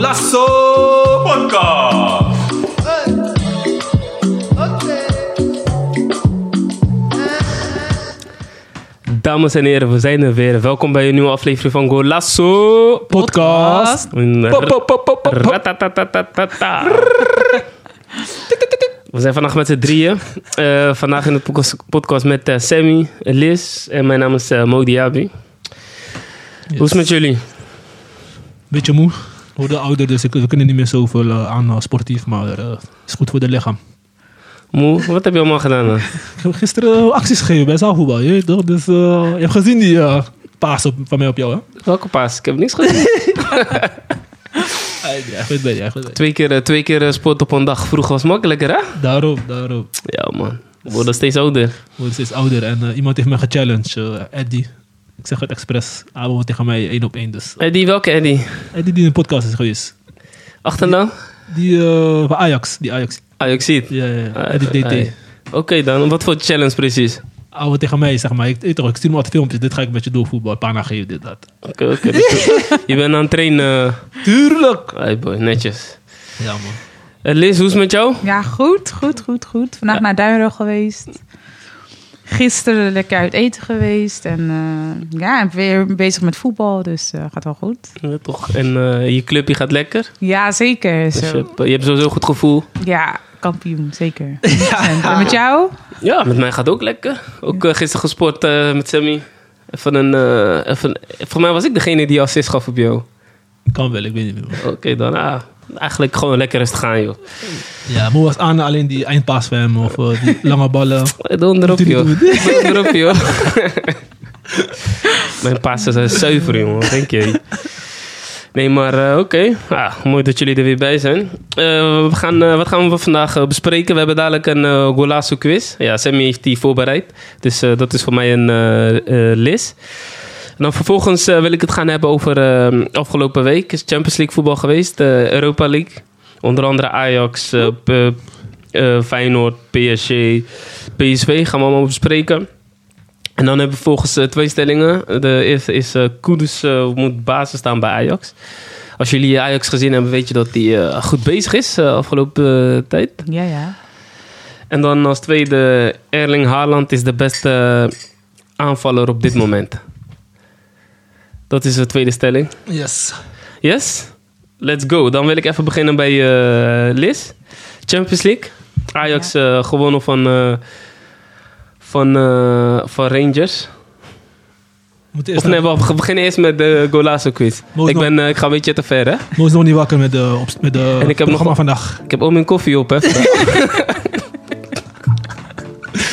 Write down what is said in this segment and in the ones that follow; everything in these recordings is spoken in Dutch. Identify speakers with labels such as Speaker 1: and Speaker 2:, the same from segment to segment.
Speaker 1: Tasso Podcast.
Speaker 2: Dames en heren, we zijn er weer. Welkom bij een nieuwe aflevering van Golasso Podcast. Ratatatatata. We zijn vandaag met z'n drieën. Eh, vandaag in de podcast- podcast met eh, Sammy, Liz en mijn naam is eh, Mo Diaby. Hoe is het met jullie?
Speaker 3: Beetje moe. We worden ouder, dus ik- we kunnen niet meer zoveel eh, aan als sportief, maar eh, is goed voor de lichaam.
Speaker 2: Moe? Wat heb je allemaal gedaan? eh? hè?
Speaker 3: Ik heb gisteren eh, acties gegeven bij Zahuba, je weet toch? Dus eh, je hebt gezien die eh, paas op, van mij op jou, hè?
Speaker 2: Welke paas? Ik heb niks gedaan.
Speaker 3: Ja, ik weet het, ja, ik weet het.
Speaker 2: Twee keer, eh, twee keer eh, sport op een dag. Vroeger was makkelijker, hè?
Speaker 3: Daarom, daarom.
Speaker 2: Ja, man. We worden steeds ouder.
Speaker 3: Ik word steeds ouder en eh, iemand heeft mij gechallenged, eh, Eddie. Ik zeg het expres, Abo tegen mij één op één, dus.
Speaker 2: Eddie, welke Eddie?
Speaker 3: Eddie die in de podcast is geweest.
Speaker 2: Achternaam?
Speaker 3: Die eh, van Ajax, die Ajax.
Speaker 2: Ah, ik zie het.
Speaker 3: Ja, ja, ja.
Speaker 2: Ah,
Speaker 3: Eddie DT.
Speaker 2: ah, Oké dan, wat voor challenge precies?
Speaker 3: ouwe tegen mij, zeg maar. Ik, ik, toch, ik stuur me altijd filmpjes. Dit ga ik met je doorvoetbal. Pana geef dit, dat.
Speaker 2: Oké, oké. dus je- je bent aan het trainen.
Speaker 3: Tuurlijk!
Speaker 2: Hey boy, netjes.
Speaker 3: Ja, man.
Speaker 2: Eh, Liz, hoe is het met jou?
Speaker 4: Ja, goed, goed, goed, goed. Vandaag naar Duinrug geweest. Gisteren lekker uit eten geweest. En eh, ja, en weer bezig met voetbal, dus eh, gaat wel goed.
Speaker 2: Ja, toch? En eh, je clubje gaat lekker?
Speaker 4: Ja, zeker.
Speaker 2: Dus je,
Speaker 4: Zo.
Speaker 2: hebt, je hebt sowieso een goed gevoel.
Speaker 4: Ja, kampioen, zeker. 100%. En eh, met jou?
Speaker 2: Ja, met mij gaat ook lekker. Ook eh, gisteren gesport eh, met Sammy. Even een, eh, even, voor mij was ik degene die assist gaf op jou.
Speaker 3: Kan wel, ik weet niet meer. man.
Speaker 2: Oké dan, ah, eigenlijk gewoon lekker rustig aan joh.
Speaker 3: Ja, moe was aan alleen die eindpaas van hem. Of eh, die lange ballen.
Speaker 2: Doe hem erop
Speaker 3: Doe niet,
Speaker 2: joh.
Speaker 3: doe
Speaker 2: Doe hem erop joh. Mijn passen zijn zuiver jongen, wat denk je? Nee, maar eh, oké. Ah, mooi dat jullie er weer bij zijn. Eh, we gaan, eh, wat gaan we vandaag eh, bespreken? We hebben dadelijk een eh Golazo quiz. Ja, Sammy heeft die voorbereid. Dus eh, dat is voor mij een eh eh, lis. En dan vervolgens eh, wil ik het gaan hebben over eh, afgelopen week. Is Champions League voetbal geweest, eh, Europa League. Onder andere Ajax, eh, P- eh, Feyenoord, PSG, PSV gaan we allemaal bespreken. En dan hebben we volgens eh, twee stellingen. De eerste is eh Kudus eh, moet basis staan bij Ajax. Als jullie Ajax gezien hebben, weet je dat hij eh, goed bezig is eh, afgelopen eh, tijd.
Speaker 4: Ja, ja.
Speaker 2: En dan als tweede, Erling Haaland is de beste eh, aanvaller op dit moment. Dat is de tweede stelling.
Speaker 3: Yes.
Speaker 2: Yes? Let's go. Dan wil ik even beginnen bij eh, Liz. Champions League. Ajax eh, gewonnen van, eh, van, eh, van Rangers.
Speaker 3: Moet eerst
Speaker 2: Of nee, we we beginnen eerst met de Golazo quiz.
Speaker 3: Moest
Speaker 2: Ik,
Speaker 3: nog-
Speaker 2: ben, eh, ik ga een beetje te ver, hè?
Speaker 3: Moe is nog niet wakker met de, op, met de
Speaker 2: En ik heb
Speaker 3: programma
Speaker 2: nog-
Speaker 3: vandaag.
Speaker 2: Ik heb al mijn koffie op, hè?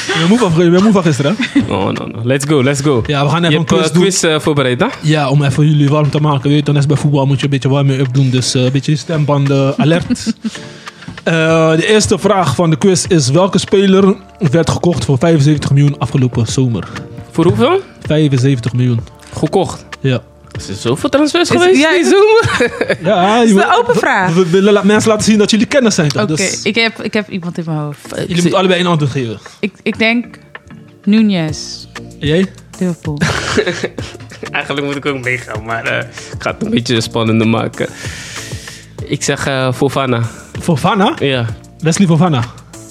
Speaker 3: Je moe van, je bent moe van gisteren, hè?
Speaker 2: Oh, no, no. Let's go, let's go.
Speaker 3: Ja, we gaan
Speaker 2: Je
Speaker 3: even een
Speaker 2: hebt eh,
Speaker 3: quiz
Speaker 2: quiz,
Speaker 3: doen.
Speaker 2: eh, voorbereid, hè?
Speaker 3: Ja, om even jullie warm te maken. Weet je, dan is bij voetbal moet je een beetje warm up doen. Dus eh, een beetje stembanden alert. Eh, de eerste vraag van de quiz is: welke speler werd gekocht voor 75 miljoen afgelopen zomer?
Speaker 2: Voor hoeveel?
Speaker 3: 75 miljoen.
Speaker 2: Gekocht.
Speaker 3: Ja.
Speaker 2: Is er zoveel transfers
Speaker 4: Is-
Speaker 2: geweest?
Speaker 4: ja,
Speaker 2: die
Speaker 4: is-
Speaker 2: zomer?
Speaker 3: ja is
Speaker 4: een open vraag.
Speaker 3: We, we willen la- mensen laten zien dat jullie kennis zijn. toch?
Speaker 4: Oké,
Speaker 3: Dus
Speaker 4: ik, heb, ik heb iemand in mijn hoofd.
Speaker 3: jullie moeten allebei een antwoord geven.
Speaker 4: Ik, ik denk Nunez,
Speaker 3: Jij?
Speaker 4: Liverpool.
Speaker 2: Eigenlijk moet ik ook meegaan, maar eh, ik ga het een beetje spannender maken. Ik zeg eh Fofana.
Speaker 3: Fofana?
Speaker 2: Ja,
Speaker 3: Leslie Fofana.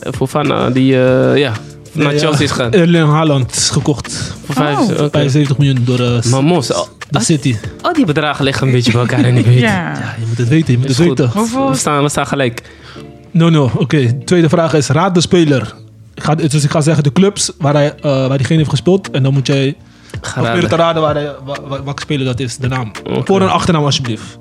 Speaker 2: Eh, Fofana die eh, ja, naar
Speaker 3: Nee,
Speaker 2: Chelsea is
Speaker 3: ja.
Speaker 2: gaan.
Speaker 3: Erling Haaland is gekocht.
Speaker 2: Voor vijf.
Speaker 4: Oh.
Speaker 2: oké.
Speaker 3: voor 75 miljoen door eh,
Speaker 2: Maar Mos, al,
Speaker 3: de City.
Speaker 2: al die bedragen liggen een beetje bij elkaar in die weet.
Speaker 4: Ja.
Speaker 3: Ja, je moet het weten, je moet
Speaker 2: Is
Speaker 3: het
Speaker 2: goed.
Speaker 3: weten.
Speaker 4: Hoeveel?
Speaker 2: We staan, we staan gelijk.
Speaker 3: No, no. Oké, tweede vraag is: raad de speler. Ik ga, dus ik ga zeggen de clubs waar, hij, eh, waar diegene heeft gespeeld. En dan moet jij
Speaker 2: Ga
Speaker 3: proberen te raden
Speaker 2: raden.
Speaker 3: waar hij, wa- wa- welke speler dat is, de naam.
Speaker 2: Oké.
Speaker 3: Voor- en achternaam, alsjeblieft.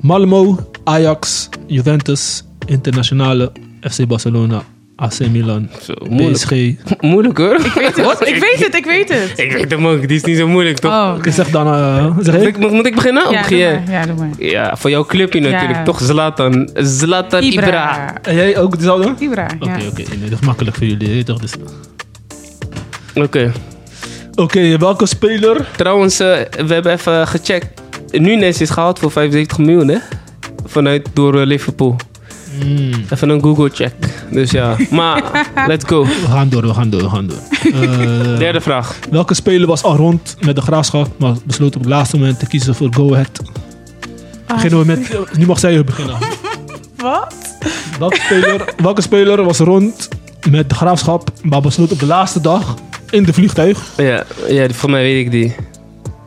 Speaker 3: Malmo, Ajax, Juventus, Internationale, FC Barcelona, AC Milan,
Speaker 2: Zo, moeilijk.
Speaker 3: PSG. Ik
Speaker 2: Moeilijk hoor. Ik
Speaker 4: Ik weet het, ik weet het, ik weet het.
Speaker 2: Ik weet hem ook, die is niet zo moeilijk toch?
Speaker 4: Oh, oké.
Speaker 3: zeg dan, eh, zeg
Speaker 2: Moet
Speaker 3: ik?
Speaker 2: ik- moet, moet ik beginnen? Of
Speaker 4: ja,
Speaker 2: begin
Speaker 4: doe
Speaker 2: jij?
Speaker 4: maar. Ja, doe maar.
Speaker 2: Ja, voor jouw clubje natuurlijk,
Speaker 4: Ja.
Speaker 2: toch? Zlatan. Zlatan Ibra.
Speaker 4: Ibra.
Speaker 3: En jij ook dezelfde? Oké,
Speaker 4: Ibra, ja.
Speaker 3: oké. nee, dat is makkelijk voor jullie. hè, toch? Dus- Oké,
Speaker 2: Oké.
Speaker 3: welke speler?
Speaker 2: Trouwens, eh, we hebben even gecheckt. Nunes is gehaald voor 75 miljoen, hè? Vanuit door eh, Liverpool. Even een Google check. Dus ja, maar let's go.
Speaker 3: We gaan door, we gaan door, we gaan door. Eh,
Speaker 2: Derde vraag.
Speaker 3: welke speler was al rond met de graafschap, maar besloot op het laatste moment te kiezen voor Go Ahead? Beginnen we met... eh, Nu mag zij beginnen.
Speaker 4: Wat?
Speaker 3: Welke speler, welke speler was rond met de graafschap, maar besloot op de laatste dag in de vliegtuig
Speaker 2: Ja, ja, die- voor mij weet ik die.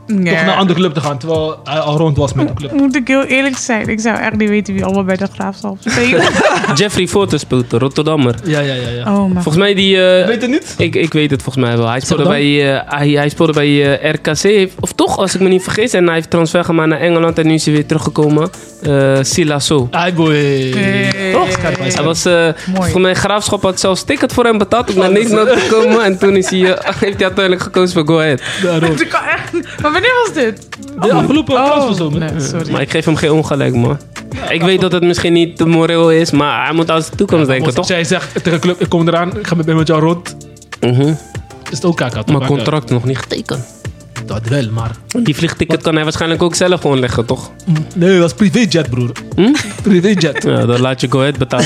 Speaker 4: Nee.
Speaker 3: toch naar een andere club te gaan, terwijl hij al rond was met de club.
Speaker 4: Moet ik heel eerlijk zijn? Ik zou echt niet weten wie allemaal bij de graafschap spelen.
Speaker 2: Jeffrey Forte speelt, de Rotterdammer.
Speaker 3: Ja, ja, ja. ja.
Speaker 4: Oh, maar.
Speaker 2: Volgens mij die... eh,
Speaker 3: Weet het niet?
Speaker 2: ik, ik weet het volgens mij wel. Hij speelde
Speaker 3: dan.
Speaker 2: bij, eh, hij, hij speelde bij eh, RKC, heeft- of toch, als ik me niet vergis. En hij heeft transfer gemaakt naar Engeland en nu is hij weer teruggekomen. Eh Silasso.
Speaker 3: Ai boy.
Speaker 4: Hey.
Speaker 3: Toch? Scherp, hij is
Speaker 2: Hij
Speaker 3: scherp.
Speaker 2: was, eh volgens mij, Graafschap had zelfs ticket voor hem betaald om naar Nederland te komen. En toen is hij, eh, heeft hij uiteindelijk gekozen voor Go Ahead.
Speaker 3: Daarom.
Speaker 4: Ik kan echt... Maar wanneer was dit? Oh,
Speaker 3: De afgelopen transferzomer.
Speaker 4: nee, sorry.
Speaker 2: Maar ik geef hem geen ongelijk, man. Ik weet dat het misschien niet moreel is, maar hij moet aan zijn toekomst denken,
Speaker 3: Want
Speaker 2: toch?
Speaker 3: Als jij zegt tegen de club, ik kom eraan, ik ga met, met jou rond,
Speaker 2: Mhm.
Speaker 3: is het ook kaka. toch?
Speaker 2: Maar contract nog niet getekend.
Speaker 3: Dat wel, maar...
Speaker 2: Die vliegticket kan hij waarschijnlijk ook zelf gewoon leggen, toch?
Speaker 3: Nee, dat was privéjet, broer.
Speaker 2: Hm?
Speaker 3: Privéjet.
Speaker 2: Ja, dan laat je Go Ahead betalen.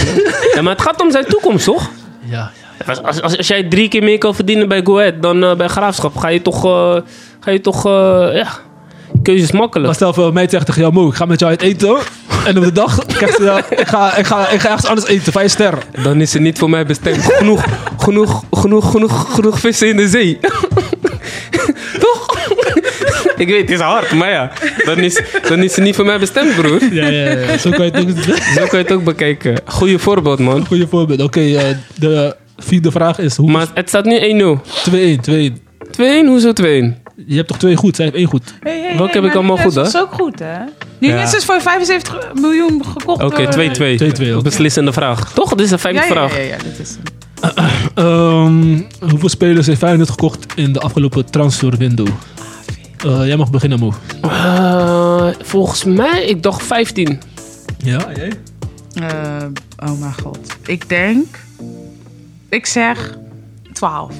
Speaker 2: ja, maar het gaat om zijn toekomst, toch?
Speaker 3: Ja, ja.
Speaker 2: Als, als, als, als jij drie keer meer kan verdienen bij Go Ahead dan eh, bij Graafschap, ga je toch, eh, ga je toch eh, ja, keuzes
Speaker 3: Maar
Speaker 2: makkelijk.
Speaker 3: stel voor, mij zegt tegen jou, Mo, ik ga met jou uit eten. En op de dag krijgt ze, ja, ik ga, ik, ga, ik ga ergens anders eten, vijf sterren.
Speaker 2: Dan is het niet voor mij bestemd. Genoeg, genoeg, genoeg, genoeg, genoeg vissen in de zee. Toch? Ik weet, het is hard, maar ja. Dan is, dan is het niet voor mij bestemd, broer.
Speaker 3: Ja, ja, ja. Zo kan je het ook
Speaker 2: Zo kan je het ook bekijken. Goeie voorbeeld, man.
Speaker 3: Goeie voorbeeld. Oké, eh, de vierde vraag is, hoe
Speaker 2: Maar het staat nu 1-0. 2-1,
Speaker 3: 2-1, 2-1.
Speaker 2: hoezo 2-1?
Speaker 3: Je hebt toch twee goed, zij heeft één goed.
Speaker 4: Hey, hey,
Speaker 2: Welke heb ik allemaal goed,
Speaker 4: Dat is
Speaker 2: hè?
Speaker 4: ook goed, hè? Nu
Speaker 2: Ja.
Speaker 4: is het voor 75 miljoen gekocht.
Speaker 2: Oké,
Speaker 4: door-
Speaker 2: 2-2.
Speaker 3: 2-2, oké.
Speaker 2: Beslissende vraag. Toch? Dit is een
Speaker 4: Ja,
Speaker 2: vijfde
Speaker 4: ja,
Speaker 2: vraag.
Speaker 4: ja, ja, dit is hem.
Speaker 3: Ehm, hoeveel spelers heeft Feyenoord gekocht in de afgelopen transferwindow? Eh, jij mag beginnen, Mo.
Speaker 2: Eh, volgens mij, ik dacht 15.
Speaker 3: Ja, jij?
Speaker 4: Eh, oh mijn god. Ik denk... Ik zeg 12.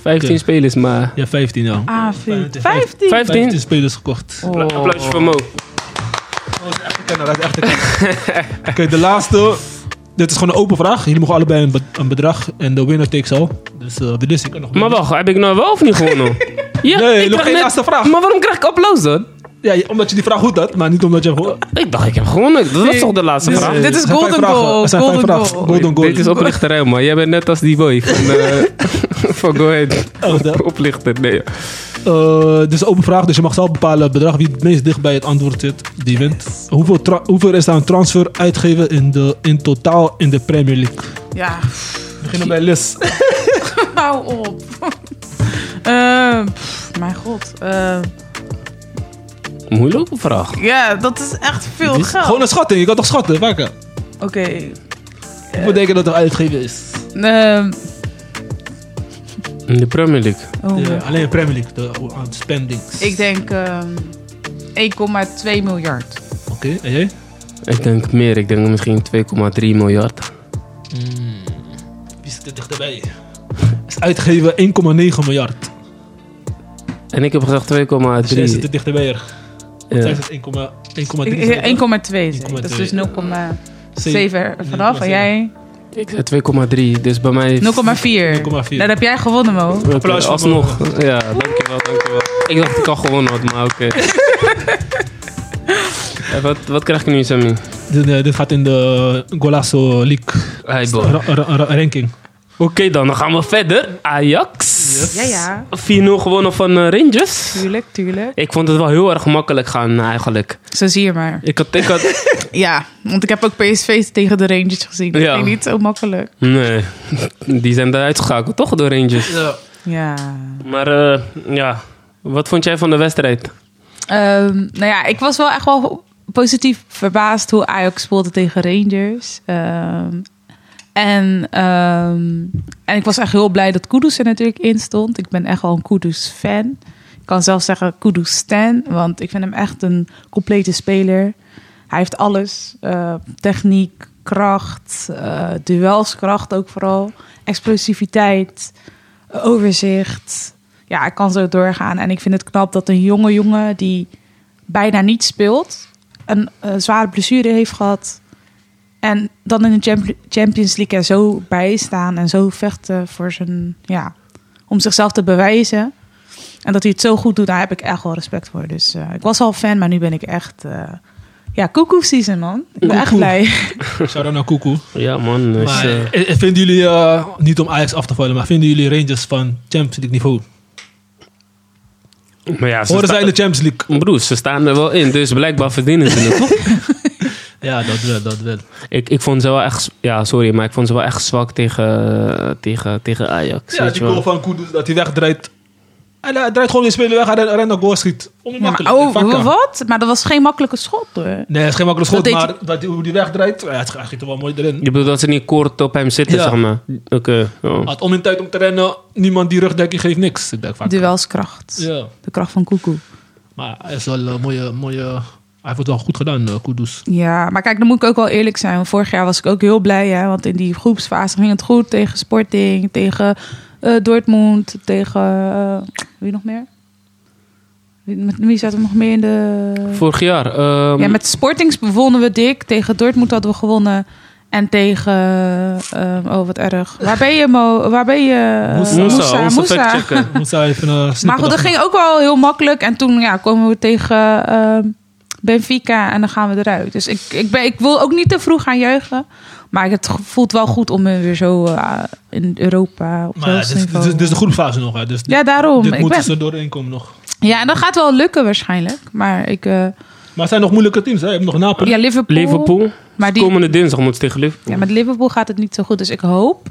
Speaker 2: 15
Speaker 3: Oké.
Speaker 2: spelers, maar...
Speaker 3: Ja, 15 ja.
Speaker 4: Ah, 15.
Speaker 3: 15.
Speaker 4: 15.
Speaker 2: 15?
Speaker 3: 15 spelers gekocht.
Speaker 4: Oh.
Speaker 2: Applaus Applausje voor Mo.
Speaker 3: Oké, de laatste. Dit is gewoon een open vraag. Jullie mogen allebei een, be- een bedrag en de winner takes all. Dus eh Dennis, ik kan nog
Speaker 2: Maar wacht, heb ik nou wel of niet gewonnen? ja,
Speaker 3: Nee, nog
Speaker 2: krijg
Speaker 3: geen laatste vraag.
Speaker 2: Maar waarom krijg ik applaus dan?
Speaker 3: Ja, je- omdat je die vraag goed had, maar niet omdat je... Eh,
Speaker 2: Ik dacht, ik heb gewonnen. Dat was toch de laatste
Speaker 4: Dus-
Speaker 2: vraag?
Speaker 4: dit is
Speaker 3: er zijn
Speaker 4: golden
Speaker 3: vijf vragen.
Speaker 4: goal,
Speaker 3: Er zijn vijf
Speaker 4: golden
Speaker 3: vragen.
Speaker 4: goal.
Speaker 3: Golden goal.
Speaker 2: Dit is oplichterij, man. Jij bent net als die boy van, eh van Go Ahead.
Speaker 3: Oh, de-
Speaker 2: Oplichter, nee.
Speaker 3: Eh, dit is een open vraag, dus je mag zelf bepalen het bedrag wie het meest dicht bij het antwoord zit, die wint. Hoeveel, tra- hoeveel is daar een transfer uitgeven in, de, in totaal in de Premier League?
Speaker 4: Ja,
Speaker 3: We beginnen bij Liz.
Speaker 4: hou op. Eh, pff, mijn god. Eh,
Speaker 2: Moeilijke vraag.
Speaker 4: ja, dat is echt veel
Speaker 3: Dit is
Speaker 4: geld.
Speaker 3: Gewoon een schatting, je kan toch schatten? Wakker.
Speaker 4: Oké.
Speaker 3: Hoeveel denk je dat er uitgegeven is?
Speaker 4: ehm,
Speaker 2: In de Premier League.
Speaker 4: oh
Speaker 3: Ja,
Speaker 4: mijn-
Speaker 3: Eh, alleen de Premier League, de oh, aan spendings.
Speaker 4: Ik denk ehm, 1,2 miljard.
Speaker 3: Oké, en jij?
Speaker 2: Ik denk meer. Ik denk misschien 2,3 miljard.
Speaker 3: Hmm, Wie zit er dichterbij? Is uitgegeven 1,9 miljard.
Speaker 2: En ik heb gezegd 2,3.
Speaker 3: Dus jij zit er dichterbij. er.
Speaker 2: Ja.
Speaker 3: Zij zit 1,3.
Speaker 4: Ik- 1,2. zeg ik. Dat is dus
Speaker 3: 1,2.
Speaker 4: 0,7 er vanaf.
Speaker 3: 0,7.
Speaker 4: En jij?
Speaker 2: Ik zei 2,3, dus bij mij...
Speaker 4: 0,4.
Speaker 3: 0,4.
Speaker 4: Dat heb jij gewonnen, Mo.
Speaker 2: Oké,
Speaker 3: Applaus voor
Speaker 2: alsnog. Ja, dankjewel, dankjewel. Ik dacht ik al gewonnen had, maar oké. Eh, wat, wat krijg ik nu, Sammy?
Speaker 3: Dit, eh, dit gaat in de Golasso League
Speaker 2: Hey, boy. Oké
Speaker 3: ra- ra- ra- ranking.
Speaker 2: dan, dan gaan we verder. Ajax.
Speaker 4: Ja, ja.
Speaker 2: 4-0 gewonnen van eh, Rangers.
Speaker 4: Tuurlijk, tuurlijk.
Speaker 2: Ik vond het wel heel erg makkelijk gaan, eigenlijk.
Speaker 4: Zo zie je maar.
Speaker 2: Ik had... Ik had
Speaker 4: Ja, want ik heb ook PSV tegen de Rangers gezien. Dat
Speaker 2: Ja.
Speaker 4: ging niet zo makkelijk.
Speaker 2: nee, die zijn daar uitgeschakeld, toch, door Rangers?
Speaker 4: Ja.
Speaker 2: Maar eh, ja, wat vond jij van de wedstrijd?
Speaker 4: Ehm, nou ja, ik was wel echt wel positief verbaasd hoe Ajax speelde tegen Rangers. Ehm, en, ehm, en ik was echt heel blij dat Kudus er natuurlijk in stond. Ik ben echt wel een Kudus-fan. Ik kan zelfs zeggen Kudus-stan, want ik vind hem echt een complete speler. Hij heeft alles. eh, techniek, kracht, eh, duelskracht ook vooral. Explosiviteit, overzicht. Ja, ik kan zo doorgaan. En ik vind het knap dat een jonge jongen die bijna niet speelt... een eh, zware blessure heeft gehad... en dan in de Champ- Champions League er zo bij staan... en zo vechten voor zijn, ja, om zichzelf te bewijzen... En dat hij het zo goed doet, daar heb ik echt wel respect voor. Dus eh, ik was al fan, maar nu ben ik echt eh, Ja, koekoe season, man. Ik ben echt
Speaker 3: Koekoe.
Speaker 4: blij.
Speaker 3: Shout-out naar Koekoe.
Speaker 2: Ja, man. is,
Speaker 3: Maar
Speaker 2: eh,
Speaker 3: eh, eh, vinden jullie, eh, niet om Ajax af te vallen, maar vinden jullie Rangers van Champions League niveau?
Speaker 2: eh, maar ja, ze
Speaker 3: Horen zij
Speaker 2: staan-
Speaker 3: in de Champions League?
Speaker 2: Broer, ze staan er wel in, dus blijkbaar verdienen ze het, toch?
Speaker 3: Ja, dat wel, dat wel.
Speaker 2: Ik, ik vond ze wel echt... Ja, sorry, maar ik vond ze wel echt zwak tegen, tegen, tegen Ajax.
Speaker 3: Ja,
Speaker 2: weet
Speaker 3: die
Speaker 2: je wel.
Speaker 3: goal van Kudus, dat hij wegdraait. Hij la- draait gewoon die speler weg, hij rent- rent naar goal, schiet.
Speaker 4: Ja,
Speaker 3: Onmakkelijk.
Speaker 4: maar, oh,
Speaker 3: Vakken.
Speaker 4: wat? Maar dat was geen makkelijke schot, hoor.
Speaker 3: Nee, het is geen makkelijk schot,
Speaker 4: Dat deed
Speaker 3: maar dat, hij- hoe die wegdraait, ja, het- hij schiet er wel mooi erin.
Speaker 2: Je bedoelt dat ze niet kort op hem zitten,
Speaker 3: Ja.
Speaker 2: zeg maar? Oké. oh.
Speaker 3: Had om in tijd om te rennen, niemand die rugdekking geeft niks. Ik denk vaak.
Speaker 4: Duelskracht.
Speaker 3: Ja,
Speaker 4: De kracht van koekoe.
Speaker 3: maar hij is wel een mooie, mooie... Hij heeft het wel goed gedaan, eh, Kudus.
Speaker 4: Ja, maar kijk, dan moet ik ook wel eerlijk zijn. Want vorig jaar was ik ook heel blij, hè, want in die groepsfase ging het goed tegen Sporting, tegen eh, Dortmund, tegen eh, wie nog meer? Wie- Met wie zaten we nog meer in de?
Speaker 2: Vorig jaar. ehm,
Speaker 4: ja, met Sportings bewonnen we dik. Tegen Dortmund hadden we gewonnen. En tegen, ehm, oh wat erg. Waar ben je, Mo? Waar ben je? eh,
Speaker 3: Moussa,
Speaker 2: Moussa,
Speaker 4: Moussa,
Speaker 2: onze
Speaker 4: Moussa.
Speaker 2: factchecker.
Speaker 3: Moet zij even eh, snippen
Speaker 4: Maar goed, dat
Speaker 3: dagen.
Speaker 4: ging ook wel heel makkelijk. En toen ja, komen we tegen ehm, Benfica en dan gaan we eruit. Dus ik, ik, ben, ik wil ook niet te vroeg gaan juichen. Maar het ge- voelt wel goed om weer zo eh, in Europa op
Speaker 3: Maar ja, dit, is- dit,
Speaker 4: niveau-
Speaker 3: is- dit is de groepsfase nog, hè. Dus dit-
Speaker 4: Ja, daarom.
Speaker 3: Dit dus
Speaker 4: Ik
Speaker 3: moeten
Speaker 4: ben,
Speaker 3: ze doorheen komen nog.
Speaker 4: ja, en dat gaat wel lukken waarschijnlijk. Maar ik... eh,
Speaker 3: Maar het zijn nog moeilijke teams, hè. Je hebt nog Napoli.
Speaker 4: ja, Liverpool.
Speaker 2: Liverpool.
Speaker 4: Maar die,
Speaker 2: Komende dinsdag moet ze tegen Liverpool.
Speaker 4: ja, met Liverpool gaat het niet zo goed. Dus ik hoop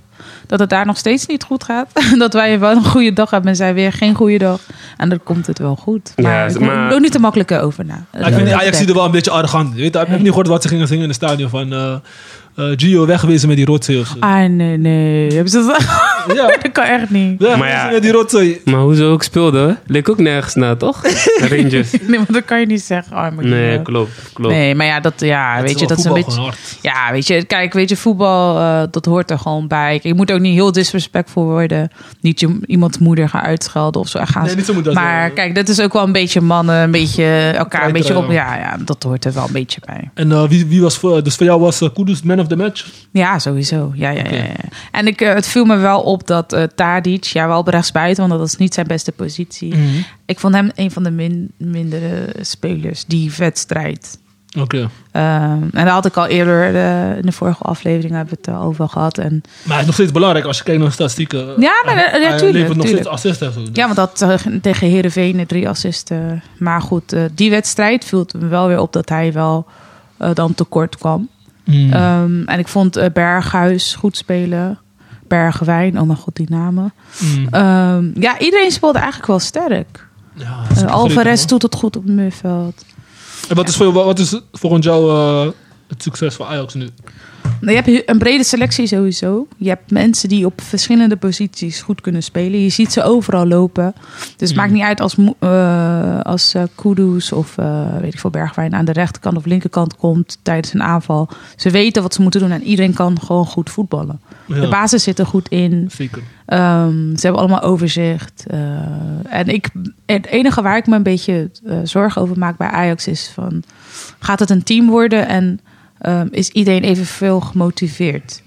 Speaker 4: dat het daar nog steeds niet goed gaat. dat wij wel een goede dag hebben en zij weer geen goede dag. En dan komt het wel goed.
Speaker 2: Ja,
Speaker 4: Maar ik
Speaker 2: maar-
Speaker 4: maar... ook niet te makkelijk over na.
Speaker 3: Maar ik vind die Ajax er wel een beetje arrogant. Weet, je, heb je niet gehoord wat ze gingen zingen in het stadion van eh, eh, Gio wegwezen met die rotzooi of zo.
Speaker 4: Ah, nee, nee. Hebben ze dat...
Speaker 3: Ja,
Speaker 4: dat kan echt niet.
Speaker 3: wegwezen
Speaker 2: Maar ja.
Speaker 3: met die rotzooi.
Speaker 2: Maar hoe ze ook speelden, leek ook nergens na, toch? Rangers.
Speaker 4: Nee, want dat kan je niet zeggen. Arme
Speaker 2: Nee,
Speaker 4: kinderen.
Speaker 2: klopt. klopt.
Speaker 4: Nee, maar ja, dat, ja, weet je, dat is een beetje... Ja, weet je, kijk, weet je, voetbal, eh, dat hoort er gewoon bij. Je moet ook niet heel disrespectvol worden. Niet je, iemands moeder gaan uitschelden of zo. Gaan
Speaker 3: Nee, niet zo moet dat
Speaker 4: maar
Speaker 3: zijn.
Speaker 4: kijk, dat is ook wel een beetje mannen, een beetje elkaar, een beetje op...
Speaker 3: Treiteren.
Speaker 4: Ja, ja, dat hoort er wel een beetje bij.
Speaker 3: En eh, wie, wie was voor, dus voor jou was eh, Kudus man of the match?
Speaker 4: Ja, sowieso. Ja, ja, ja, ja. En ik, eh, het viel me wel op dat eh Tadic, ja, wel op rechtsbuiten, want dat is niet zijn beste positie.
Speaker 3: Mhm.
Speaker 4: Ik vond hem een van de min, mindere spelers die wedstrijd.
Speaker 3: Oké.
Speaker 4: Ehm, en daar had ik al eerder eh, in de vorige aflevering hebben we het al over gehad. En,
Speaker 3: Maar hij is nog steeds belangrijk als je kijkt naar de statistieken.
Speaker 4: Ja, maar,
Speaker 3: Hij-
Speaker 4: eh, ja,
Speaker 3: hij
Speaker 4: tuurlijk,
Speaker 3: levert nog steeds
Speaker 4: tuurlijk.
Speaker 3: assisten. en zo. dus-
Speaker 4: ja, want dat eh, tegen Herenveen drie assisten. Maar goed, eh, die wedstrijd viel het me wel weer op dat hij wel eh, dan tekort kwam.
Speaker 3: Mm.
Speaker 4: Ehm, en ik vond eh, Berghuis goed spelen. Bergwijn, oh mijn god, die namen.
Speaker 3: Mm.
Speaker 4: Ehm, ja, iedereen speelde eigenlijk wel sterk.
Speaker 3: Ja, dat is
Speaker 4: Eh,
Speaker 3: een
Speaker 4: Alvarez
Speaker 3: vergeten,
Speaker 4: doet het goed op het middenveld.
Speaker 3: man. En wat, is voor, wat is volgens jou eh, het succes van Ajax nu?
Speaker 4: Nou, Je hebt he- een brede selectie sowieso. Je hebt mensen die op verschillende posities goed kunnen spelen. Je ziet ze overal lopen. Dus het
Speaker 3: Mm.
Speaker 4: maakt niet uit als, Mo- eh, als eh, Kudus of eh, weet ik veel, Bergwijn aan de rechterkant of linkerkant komt tijdens een aanval. Ze weten wat ze moeten doen en iedereen kan gewoon goed voetballen.
Speaker 3: Ja,
Speaker 4: De basis zit er goed in.
Speaker 3: Zeker.
Speaker 4: Ehm, ze hebben allemaal overzicht. Eh, en ik, het enige waar ik me een beetje eh, zorgen over maak bij Ajax is van... gaat het een team worden en ehm, is iedereen evenveel gemotiveerd?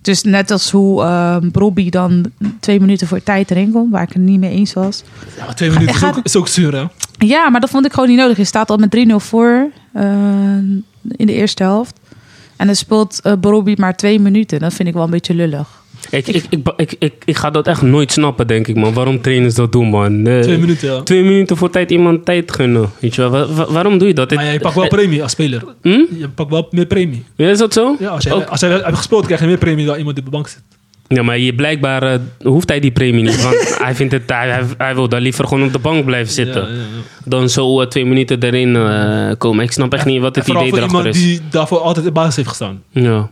Speaker 4: Dus net als hoe ehm Robbie dan twee minuten voor tijd erin komt... waar ik het niet mee eens was.
Speaker 3: Ja, maar twee minuten is
Speaker 4: gaat-
Speaker 3: ook, is ook zuur, hè?
Speaker 4: Ja, maar dat vond ik gewoon niet nodig. Je staat al met 3-0 voor eh, in de eerste helft. En dan speelt eh Robbie maar twee minuten. Dat vind ik wel een beetje lullig.
Speaker 2: Ik, ik, ik, ik, ik, ik ga dat echt nooit snappen, denk ik, man. Waarom trainers dat doen, man. Nee.
Speaker 3: Twee minuten, ja.
Speaker 2: Twee minuten voor tijd iemand tijd gunnen. Weet je wel. Wa- wa- waarom doe je dat?
Speaker 3: Maar ja, je pakt wel premie als speler.
Speaker 2: Hm?
Speaker 3: Je pakt wel meer premie.
Speaker 2: Ja, Is dat zo?
Speaker 3: Ja, als jij,
Speaker 2: Ook-
Speaker 3: als jij hebt gespeeld, krijg je meer premie dan iemand die op de bank zit.
Speaker 2: Ja, maar je, blijkbaar eh, hoeft hij die premie niet. Want hij, vindt het, hij, hij- hij wil daar liever gewoon op de bank blijven zitten.
Speaker 3: Ja, ja, ja.
Speaker 2: Dan zo eh, twee minuten erin eh, komen. Ik snap echt niet wat
Speaker 3: En
Speaker 2: het
Speaker 3: vooral
Speaker 2: idee
Speaker 3: voor
Speaker 2: erachter
Speaker 3: iemand
Speaker 2: is.
Speaker 3: die daarvoor altijd in de basis heeft gestaan.
Speaker 2: Ja.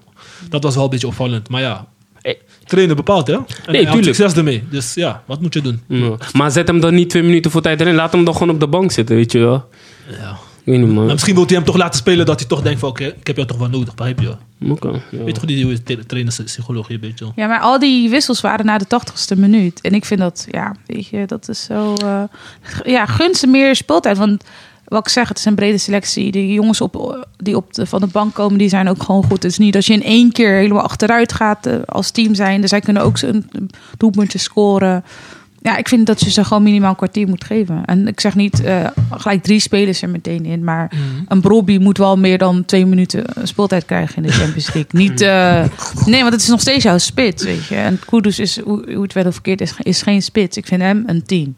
Speaker 3: Dat was wel een beetje opvallend. Maar ja,
Speaker 2: Eh.
Speaker 3: trainen bepaalt, hè? En hij had
Speaker 2: tuurlijk.
Speaker 3: succes ermee. Dus ja, wat moet je doen?
Speaker 2: Ja. Maar zet hem dan niet twee minuten voor tijd erin. Laat hem dan gewoon op de bank zitten, weet je wel.
Speaker 3: Ja.
Speaker 2: Ik weet niet, man.
Speaker 3: Maar misschien wil hij hem toch laten spelen dat hij toch denkt van... Oké, ik heb jou toch wel nodig, begrijp je?
Speaker 2: Oké, ja.
Speaker 3: Weet je toch die tra- trainerspsychologie een beetje?
Speaker 4: Ja, maar al die wissels waren na de tachtigste minuut. En ik vind dat, ja, weet je, dat is zo... eh, g- ja, gun ze meer speeltijd. Want wat ik zeg, het is een brede selectie. De jongens op, die op de, van de bank komen, die zijn ook gewoon goed. Het is niet dat je in één keer helemaal achteruit gaat eh, als team zijn. Dus zij kunnen ook een doelpuntje scoren. ja, ik vind dat je ze gewoon minimaal een kwartier moet geven. En ik zeg niet eh, gelijk drie spelers er meteen in. Maar een Brobby moet wel meer dan twee minuten eh, speeltijd krijgen in de Champions League. Niet, eh, nee, want het is nog steeds jouw spits, weet je. En Kudus is, hoe, hoe het wel of verkeerd is, is geen spits. Ik vind hem een tien.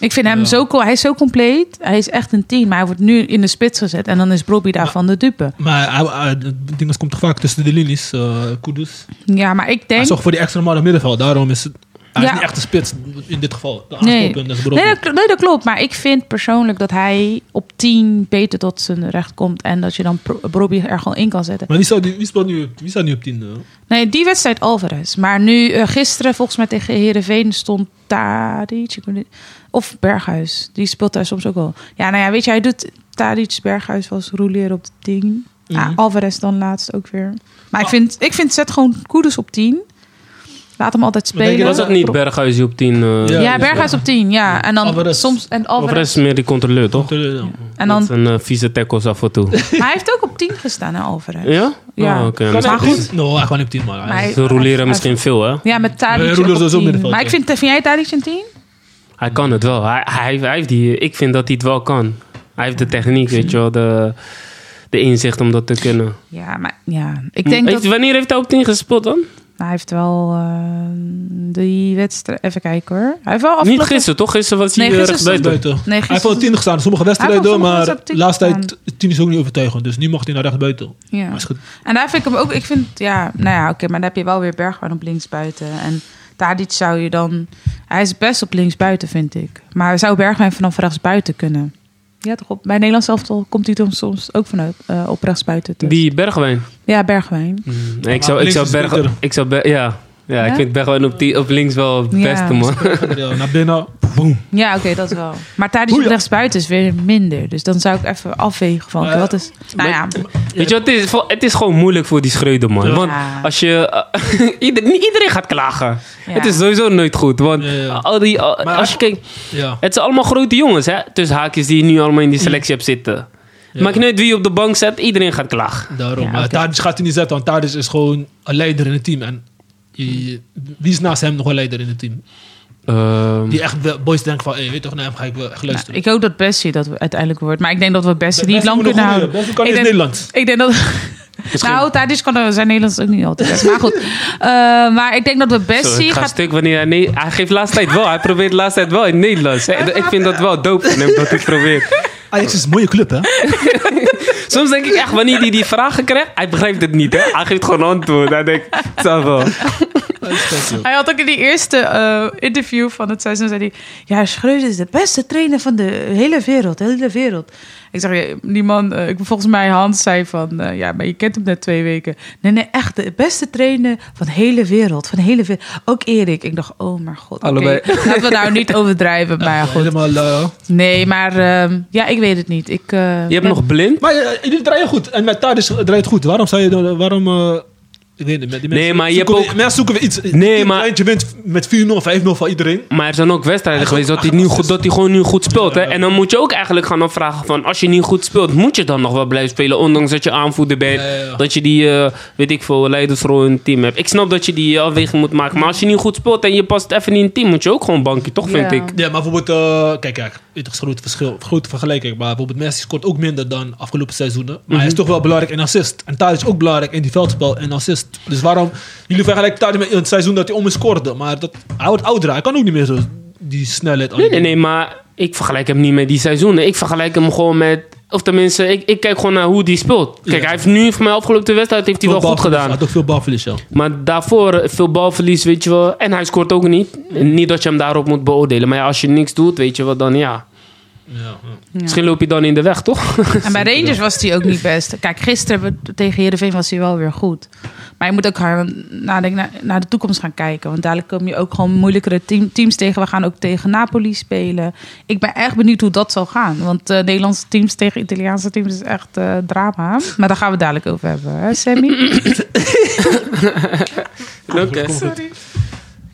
Speaker 4: Ik vind hem
Speaker 3: Ja.
Speaker 4: zo, co- hij is zo compleet. Hij is echt een tien, maar hij wordt nu in de spits gezet. En dan is Brobby daarvan de dupe.
Speaker 3: Maar hij- hij- het ding is, komt toch vaak tussen de linies, eh Kudus.
Speaker 4: Ja, maar ik
Speaker 3: Hij
Speaker 4: denk...
Speaker 3: zorgt voor die extra man op middenveld. Daarom is het, hij
Speaker 4: Ja.
Speaker 3: is niet echt de spits in dit geval. De
Speaker 4: Nee.
Speaker 3: aanspeelpunt is Brobbey.
Speaker 4: Nee dat, nee, dat klopt. Maar ik vind persoonlijk dat hij op 10 beter tot zijn recht komt. En dat je dan Pro- Brobbey er gewoon in kan zetten.
Speaker 3: Maar wie, zou die, wie, speelt nu, op- wie staat nu op 10?
Speaker 4: Nee, die wedstrijd Alvarez. Maar nu, eh, gisteren volgens mij tegen Herenveen stond Tadic. ik weet niet- Of Berghuis. Die speelt daar soms ook wel. Ja, nou ja, weet je, hij doet Tadic, Berghuis was roeleer op de 10. Ja,
Speaker 3: Mhm.
Speaker 4: Alvarez dan laatst ook weer. Maar ik
Speaker 3: Oh.
Speaker 4: vind, ik vind zet gewoon Koeders op 10. Laat hem altijd
Speaker 3: Maar denk
Speaker 4: spelen.
Speaker 3: je
Speaker 2: Was dat niet Berghuis die op 10... eh,
Speaker 3: Ja,
Speaker 4: Ja,
Speaker 3: dus,
Speaker 4: Berghuis op 10, ja. En dan
Speaker 3: Alvarez.
Speaker 4: soms en
Speaker 2: Of
Speaker 4: Alvarez.
Speaker 2: rest meer die controleur, toch?
Speaker 4: En dan
Speaker 2: Met zijn eh, vieze tackles af en toe.
Speaker 4: Maar hij heeft ook op 10 gestaan, hè, Alvarez.
Speaker 2: ja?
Speaker 4: Ja.
Speaker 2: Oh, oké.
Speaker 3: Kan hij
Speaker 4: Maar
Speaker 3: op
Speaker 4: goed.
Speaker 3: 10? No, Nou, hij kan niet op 10, maar hij
Speaker 4: Maar
Speaker 3: is-
Speaker 4: hij-
Speaker 2: Ze roleren misschien veel, hè?
Speaker 4: Ja, met
Speaker 3: Nee,
Speaker 4: Tadic
Speaker 3: Roelof
Speaker 4: ook
Speaker 3: is ook
Speaker 4: op 10.
Speaker 3: middenveld,
Speaker 4: Maar
Speaker 3: ja.
Speaker 4: ik vind, vind jij Tadic een 10?
Speaker 2: Hij kan het wel. Hij, hij, hij heeft die, ik vind dat hij het wel kan. Hij heeft de techniek, weet je wel. De, de inzicht om dat te kunnen.
Speaker 4: Ja, maar ja. Ik denk
Speaker 2: Heeft-
Speaker 4: dat...
Speaker 2: Wanneer heeft hij op 10 gespeeld dan?
Speaker 4: Nou, hij heeft wel eh, die wedstrijd... Even kijken hoor. Hij heeft wel
Speaker 2: Niet
Speaker 4: afgelopen...
Speaker 2: gisteren, toch? Gisteren was hij
Speaker 4: Nee,
Speaker 2: nee,
Speaker 4: gisteren
Speaker 3: hij is
Speaker 2: rechtsbuiten.
Speaker 3: buiten.
Speaker 4: Nee,
Speaker 3: Hij heeft wel
Speaker 4: gisteren...
Speaker 3: 10 gestaan, sommige
Speaker 4: Hij heeft
Speaker 3: wedstrijden,
Speaker 4: wel sommige
Speaker 3: maar
Speaker 4: wedstrijden
Speaker 3: laatst tijd
Speaker 4: gestaan.
Speaker 3: 10 is ook niet overtuigend. Dus nu mag hij naar rechtsbuiten.
Speaker 4: Ja.
Speaker 3: Maar is goed.
Speaker 4: En daar vind ik hem ook... Ik vind... Ja, nou ja, oké. maar dan heb je wel weer Bergwijn op linksbuiten. En Tadic zou je dan... Hij is best op linksbuiten, vind ik. Maar zou Bergwijn vanaf rechtsbuiten kunnen? Ja, toch op... Bij Nederlands elftal komt hij dan soms ook vanuit eh, op rechtsbuiten. Dus.
Speaker 2: Die Bergwijn.
Speaker 4: Ja, Bergwijn.
Speaker 2: Nee, ik zou, ik
Speaker 3: links
Speaker 2: zou
Speaker 3: is
Speaker 2: Berg...
Speaker 3: beter.
Speaker 2: Ik zou Ber- ja. Ja, ik
Speaker 4: Ja?
Speaker 2: vind Bergwijn op, die, op links wel het
Speaker 4: Ja.
Speaker 2: beste, man.
Speaker 3: Ja, eh, naar binnen, boom.
Speaker 4: Ja, oké, dat wel. Maar tijdens
Speaker 3: Boeien.
Speaker 4: rechtsbuiten is weer minder. Dus dan zou ik even afwegen van, oké,
Speaker 2: Eh,
Speaker 3: Maar-
Speaker 4: wat is... Nou ja,
Speaker 2: Weet je wat, het is, Vo- het is gewoon moeilijk voor die schreuder, man.
Speaker 3: Ja.
Speaker 2: Want als je... eh, ieder- niet iedereen gaat klagen.
Speaker 4: Ja.
Speaker 2: Het is sowieso nooit goed, want
Speaker 3: Ja, ja.
Speaker 2: al die, al-
Speaker 3: Maar-
Speaker 2: als je kijkt...
Speaker 3: Ja.
Speaker 2: Het zijn allemaal grote jongens, hè? Tussen haakjes die je nu allemaal in die selectie hebt zitten.
Speaker 3: Ja.
Speaker 2: Maakt niet uit wie je op de bank zet, iedereen gaat klagen.
Speaker 3: Daarom.
Speaker 4: Ja,
Speaker 3: maar
Speaker 4: oké.
Speaker 3: Tadic gaat hij niet zetten, want Tadic is gewoon een leider in het team. En je- je- wie is naast hem nog een leider in het team?
Speaker 2: Ehm,
Speaker 3: Die echt wel- boys denken van, hey, weet toch, naar hem ga ik wel echt
Speaker 4: nou,
Speaker 3: luisteren.
Speaker 4: ik hoop dat Bessie dat we uiteindelijk wordt. Maar ik denk dat we Bessie niet lang kunnen houden.
Speaker 3: Best kan niet
Speaker 4: Ik
Speaker 3: in
Speaker 4: denk-
Speaker 3: Nederland.
Speaker 4: Ik denk dat...
Speaker 2: Misschien-
Speaker 4: Nou, tijdens kan er- zijn Nederlands ook niet altijd best. Maar goed. Eh, maar ik denk dat we
Speaker 2: Sorry,
Speaker 4: Bessie
Speaker 2: ik ga
Speaker 4: gaat...
Speaker 2: stuk wanneer hij... Nee, hij geeft laatst tijd wel. Hij probeert laatst tijd wel in het Nederlands. hè. Ik vind dat wel dope van hem dat hij het probeert.
Speaker 3: Ajax is een mooie club, hè?
Speaker 2: Soms denk ik echt, wanneer hij die vragen krijgt... Hij begrijpt het niet, hè? Hij geeft gewoon antwoord. Hij denkt, het zal wel.
Speaker 4: Hij had ook in die eerste eh, interview van het seizoen, zei hij... Ja, Schreuder is de beste trainer van de hele wereld, de hele wereld. Ik zeg, ja, die man, eh, ik, volgens mij Hans zei van... eh, ja, maar je kent hem net twee weken. Nee, nee, echt de beste trainer van de hele wereld, van de hele wereld. Ook Erik. Ik dacht, oh mijn god. oké.
Speaker 2: Allebei.
Speaker 4: Laten we nou niet overdrijven, maar goed.
Speaker 3: Helemaal, eh,
Speaker 4: Nee, maar ehm, ja, ik weet het niet. Ik, eh,
Speaker 2: Je hebt
Speaker 4: ben-
Speaker 2: nog blind?
Speaker 3: maar eh, jullie draaien goed. En met Tadic draait het goed. Waarom zou je... dan- Waarom... eh, ik weet niet, met die
Speaker 2: Nee,
Speaker 3: mensen
Speaker 2: maar je
Speaker 3: zoeken
Speaker 2: hebt
Speaker 3: we-
Speaker 2: ook-
Speaker 3: Mensen zoeken we iets.
Speaker 2: Nee, maar-
Speaker 3: Eindje wint met 4-0, 5-0 van iedereen.
Speaker 2: Maar er zijn ook wedstrijden
Speaker 3: Hij is
Speaker 2: geweest dat
Speaker 3: ook
Speaker 2: hij, nu goed,
Speaker 3: achter-
Speaker 2: dat hij gewoon nu goed speelt. Hè?
Speaker 3: Ja.
Speaker 2: En dan moet je ook eigenlijk gaan afvragen van... als je niet goed speelt, moet je dan nog wel blijven spelen... ondanks dat je aanvoerder bent.
Speaker 3: Ja, ja, ja.
Speaker 2: Dat je die, eh, weet ik veel, leidersrol in het team hebt. Ik snap dat je die afweging moet maken. Maar als je niet goed speelt en je past even niet in het team... moet je ook gewoon banken, toch, vind
Speaker 4: Ja.
Speaker 2: ik.
Speaker 3: Ja, maar bijvoorbeeld... eh, kijk, kijk. Het is groot verschil. Grote vergelijking. Maar bijvoorbeeld Messi scoort ook minder dan afgelopen seizoenen. Maar hij is
Speaker 2: Mhm.
Speaker 3: toch wel belangrijk in assist. En Tadic is ook belangrijk in die veldspel en assist. Dus waarom... Jullie vergelijken Tadic met het seizoen dat hij om is scoorde. Maar dat, hij wordt ouder. Hij kan ook niet meer zo die snelheid... aan-
Speaker 2: Nee, nee, nee, maar ik vergelijk hem niet met die seizoenen. Ik vergelijk hem gewoon met... Of tenminste, ik, ik kijk gewoon naar hoe die speelt. Kijk,
Speaker 3: Ja.
Speaker 2: hij heeft nu voor mij afgelopen wedstrijd heeft hij wel
Speaker 3: Veel
Speaker 2: goed
Speaker 3: balverlies. Hij
Speaker 2: gedaan.
Speaker 3: had ook veel balverlies, ja.
Speaker 2: Maar daarvoor eh, veel balverlies, weet je wel. En hij scoort ook niet. Niet dat je hem daarop moet beoordelen. Maar ja, als je niks doet, weet je wel, dan ja.
Speaker 3: Ja, ja.
Speaker 2: Misschien loop je dan in de weg, toch?
Speaker 4: En bij Rangers was hij ook niet best. Kijk, gisteren hebben we- tegen Heerenveen was hij wel weer goed. Maar je moet ook gaan nadenken, naar, naar de toekomst gaan kijken. Want dadelijk kom je ook gewoon moeilijkere team- teams tegen. We gaan ook tegen Napoli spelen. Ik ben echt benieuwd hoe dat zal gaan. Want eh, Nederlandse teams tegen Italiaanse teams is echt eh, drama. Maar daar gaan we het dadelijk over hebben, hè Sammy?
Speaker 2: Lucas.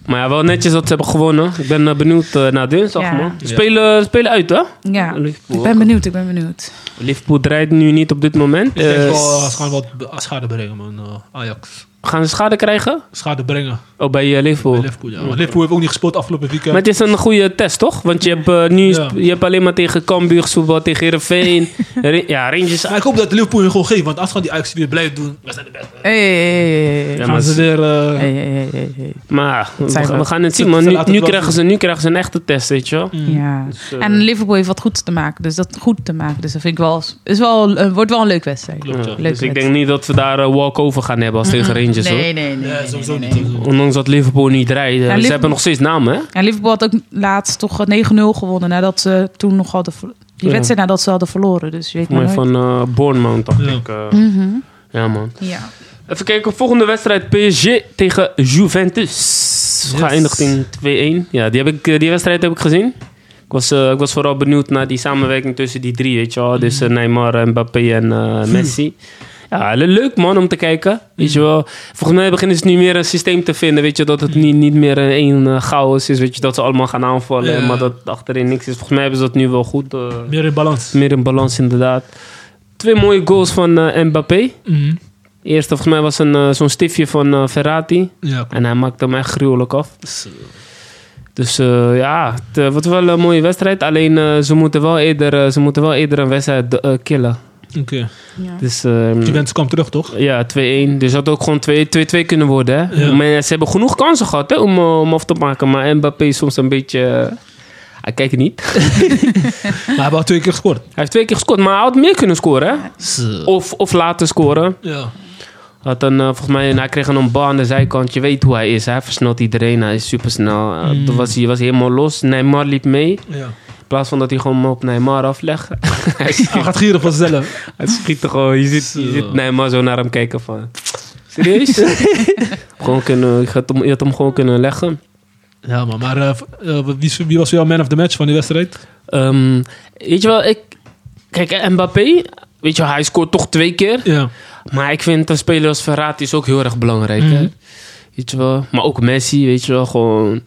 Speaker 2: Maar ja, wel netjes dat ze hebben gewonnen. Ik ben eh, benieuwd eh, naar dinsdag,
Speaker 4: Ja.
Speaker 2: man. Spelen, spelen uit, hè?
Speaker 4: Ja,
Speaker 2: Liverpool
Speaker 4: ik
Speaker 2: ook.
Speaker 4: ben benieuwd, ik ben benieuwd.
Speaker 2: Liverpool draait nu niet op dit moment.
Speaker 3: Dus Ik denk
Speaker 2: Eh,
Speaker 3: wel, eh, ze gaan wat be- schade brengen, man. eh, Ajax.
Speaker 2: Gaan ze schade krijgen?
Speaker 3: schade brengen.
Speaker 2: Oh, bij eh, Liverpool.
Speaker 3: Bij Liverpool, ja. Want Liverpool heeft ook niet gespeeld afgelopen weekend.
Speaker 2: Maar het is een goede test, toch? Want je hebt eh, nu
Speaker 3: Ja.
Speaker 2: je hebt alleen maar tegen Cambuur gevoetbald, tegen Heerenveen. Re- ja, Rangers.
Speaker 3: Maar ik hoop dat Liverpool hun gewoon geeft, want als gaan die Ajax weer blijven doen, we zijn de beste.
Speaker 4: Hey, hey, hey,
Speaker 2: Ja,
Speaker 4: hey.
Speaker 2: maar
Speaker 3: Gaan ze
Speaker 2: ze-
Speaker 3: weer... eh,
Speaker 4: Hey, hey, hey, hey, hey.
Speaker 2: Maar we,
Speaker 4: zijn
Speaker 2: gaan-
Speaker 4: we.
Speaker 2: we gaan het zien,
Speaker 3: Ze-
Speaker 2: man.
Speaker 3: ze
Speaker 2: Nu,
Speaker 3: laten
Speaker 2: nu,
Speaker 3: het wel
Speaker 2: krijgen ze, nu krijgen ze een echte test, weet je wel.
Speaker 3: mm.
Speaker 4: Ja.
Speaker 2: Dus, eh,
Speaker 4: En Liverpool heeft wat goed te maken, dus dat goed te maken. Dus dat vind ik wel, is wel, eh, wordt wel een leuk wedstrijd.
Speaker 3: Klopt, ja.
Speaker 2: ja,
Speaker 4: Leuk
Speaker 2: dus ik
Speaker 4: met-
Speaker 2: denk niet dat we daar walk walkover gaan hebben als tegen Rangers, hoor.
Speaker 4: Nee, nee, nee.
Speaker 3: Nee,
Speaker 4: nee,
Speaker 3: sowieso
Speaker 4: nee,
Speaker 3: niet.
Speaker 4: nee.
Speaker 3: sowieso.
Speaker 2: Ondanks dat Liverpool niet rijdt. eh, Ze
Speaker 4: Liverpool-
Speaker 2: hebben nog steeds naam, hè?
Speaker 4: En Liverpool had ook laatst toch eh, 9-0 gewonnen. Nadat ze toen nog hadden ver- Die
Speaker 2: Ja.
Speaker 4: wedstrijd nadat ze hadden verloren. Dus je weet maar
Speaker 2: Maar
Speaker 4: nooit.
Speaker 2: van eh Bournemouth, dacht
Speaker 3: Ja.
Speaker 2: ik. eh.
Speaker 4: Mhm.
Speaker 2: ja, man.
Speaker 4: Ja.
Speaker 2: Even kijken, volgende wedstrijd PSG tegen Juventus.
Speaker 3: Yes.
Speaker 2: Geëindigd in 2-1. Ja, die, heb ik, eh, die wedstrijd heb ik gezien. Ik was, eh, ik was vooral benieuwd naar die samenwerking tussen die drie, weet je wel. Dus eh, Neymar, Mbappé en
Speaker 3: Hm.
Speaker 2: eh, Messi. Ja, le- leuk man om te kijken, weet je wel. Volgens mij beginnen ze nu meer een systeem te vinden, weet je. Dat het niet, niet meer een één eh, chaos is, weet je. Dat ze allemaal gaan aanvallen,
Speaker 3: Ja.
Speaker 2: maar dat achterin niks is. Volgens mij hebben ze dat nu wel goed. eh,
Speaker 3: Meer in balans.
Speaker 2: meer in balans inderdaad. Twee mooie goals van eh, Mbappé.
Speaker 3: Mhm.
Speaker 2: Eerste volgens mij was een, eh, zo'n stiftje van eh, Ferrati.
Speaker 3: Ja, klopt.
Speaker 2: En hij maakte hem echt gruwelijk af.
Speaker 3: Dus, eh,
Speaker 2: Dus eh, ja, het eh, wordt wel een mooie wedstrijd. Alleen eh, ze, moeten wel eerder, eh, ze moeten wel eerder een wedstrijd eh, killen.
Speaker 3: Oké.
Speaker 4: Ja.
Speaker 2: Dus ehm,
Speaker 3: Juventus kwam terug, toch?
Speaker 2: ja, 2-1. Dus dat had ook gewoon 2-2 kunnen worden. Hè?
Speaker 3: Ja.
Speaker 2: Maar ja, ze hebben genoeg kansen gehad hè, om, eh, om af te maken. Maar Mbappé is soms een beetje... eh, hij kijkt niet.
Speaker 3: Maar hij had al twee keer gescoord.
Speaker 2: Hij heeft twee keer gescoord, maar hij had meer kunnen scoren. Hè?
Speaker 3: Zo.
Speaker 2: Of, of laten scoren.
Speaker 3: Ja.
Speaker 2: Had een, eh, volgens mij, en hij kreeg een bal aan de zijkant. Je weet hoe hij is. Hij versnelt iedereen. Hij is supersnel. Eh,
Speaker 3: Mm.
Speaker 2: Toen was hij, was hij helemaal los. Neymar liep mee.
Speaker 3: ja.
Speaker 2: In plaats van dat hij gewoon op Neymar aflegt. hij,
Speaker 3: Hij
Speaker 2: schiet,
Speaker 3: gaat gieren vanzelf.
Speaker 2: hij schiet er gewoon. Je ziet, je
Speaker 3: Zo.
Speaker 2: ziet Neymar zo naar hem kijken van... Serieus? gewoon kunnen, je, had hem, je had hem gewoon kunnen leggen.
Speaker 3: Ja, man. Maar eh, v- eh, wie, is- wie was jouw man of the match van die wedstrijd?
Speaker 2: Ehm, weet je wel, ik... Kijk, Mbappé... Weet je wel, hij scoort toch twee keer.
Speaker 3: Ja.
Speaker 2: Maar ik vind een speler als Verratti is ook heel erg belangrijk. hè?
Speaker 3: Mhm.
Speaker 2: Weet je wel. Maar ook Messi, weet je wel. Gewoon...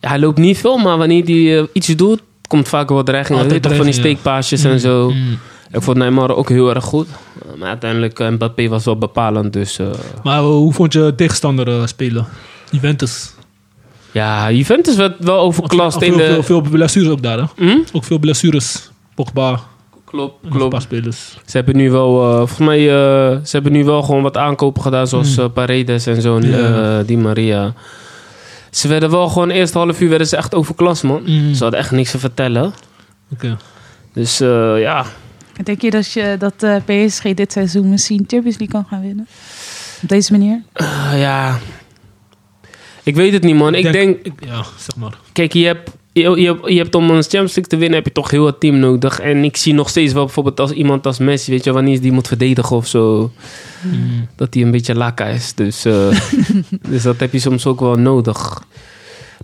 Speaker 2: Ja, hij loopt niet veel, maar wanneer hij eh, iets doet, komt vaak wel dreiging. Weet
Speaker 3: Altijd
Speaker 2: je toch van die
Speaker 3: dreiging,
Speaker 2: steekpaasjes en zo.
Speaker 3: Mm.
Speaker 2: Ik vond Neymar ook heel erg goed. Uh, Maar uiteindelijk, eh, Mbappé was wel bepalend. Dus eh,
Speaker 3: Maar eh, hoe vond je tegenstander eh, spelen? Juventus.
Speaker 2: ja, Juventus werd wel
Speaker 3: Want er-
Speaker 2: overklast
Speaker 3: veel,
Speaker 2: in
Speaker 3: veel,
Speaker 2: de...
Speaker 3: veel blessures ook daar, hè?
Speaker 2: Hm?
Speaker 3: Ook veel blessures. Pogba,
Speaker 2: Klopt,
Speaker 3: een paar
Speaker 2: klopt.
Speaker 3: spelers.
Speaker 2: Ze hebben nu wel, eh, volgens mij, eh, ze hebben nu wel gewoon wat aankopen gedaan. Zoals
Speaker 3: Hmm.
Speaker 2: eh, Paredes en zo.
Speaker 3: Ja.
Speaker 2: eh, die Maria. Ze werden wel gewoon, eerst half uur werden ze echt overklast, man.
Speaker 3: Mm.
Speaker 2: Ze hadden echt niks te vertellen.
Speaker 3: Oké.
Speaker 2: Dus eh, ja,
Speaker 4: Denk je dat, je, dat eh, PSG dit seizoen misschien Champions League kan gaan winnen? Op deze manier?
Speaker 2: Ah, ja. Ik weet het niet, man. Ik denk,
Speaker 3: Ja, zeg maar.
Speaker 2: kijk, je hebt, je, je, je hebt om een Champions League te winnen, heb je toch heel het team nodig. En ik zie nog steeds wel bijvoorbeeld als iemand als Messi, weet je, wel, wanneer die moet verdedigen of zo,
Speaker 3: Mm.
Speaker 2: dat hij een beetje laka is. Dus, eh, dus dat heb je soms ook wel nodig.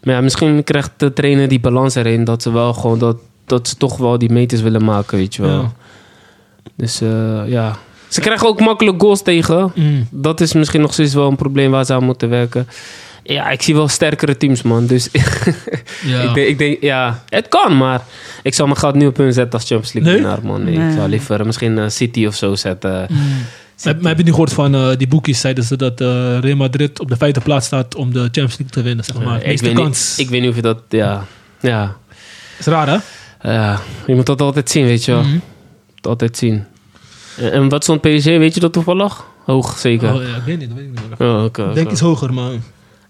Speaker 2: Maar ja, misschien krijgt de trainer die balans erin, dat ze wel gewoon dat, dat ze toch wel die meters willen maken, weet je wel.
Speaker 3: Ja.
Speaker 2: Dus eh, ja. Ze krijgen ook makkelijk goals tegen.
Speaker 3: Mm.
Speaker 2: Dat is misschien nog steeds wel een probleem waar ze aan moeten werken. Ja, ik zie wel sterkere teams, man. Dus
Speaker 3: Ja.
Speaker 2: ik, denk, ik denk, ja, het kan, maar ik zou mijn geld niet op hun zetten als Champions League
Speaker 3: Nee?
Speaker 2: winnaar, man. Nee, Ik
Speaker 4: Nee.
Speaker 2: zou liever misschien eh, City of zo zetten.
Speaker 3: Mm. Maar, maar heb je niet gehoord van eh, die boekies? Zeiden ze dat eh, Real Madrid op de vijfde plaats staat om de Champions League te winnen, zeg maar.
Speaker 2: Eh, ik,
Speaker 3: Meeste
Speaker 2: weet
Speaker 3: kans.
Speaker 2: niet, ik weet niet of je dat, ja, ja,
Speaker 3: Is raar, hè?
Speaker 2: ja. Je moet dat altijd zien, weet je wel.
Speaker 3: Mhm.
Speaker 2: Altijd zien. Eh, En, en wat stond PSG, weet je dat toevallig? Hoog, zeker.
Speaker 3: Oh, ja, ik weet niet, dat weet ik niet.
Speaker 2: Oh, oké,
Speaker 3: Ik denk
Speaker 2: oké.
Speaker 3: iets hoger, man.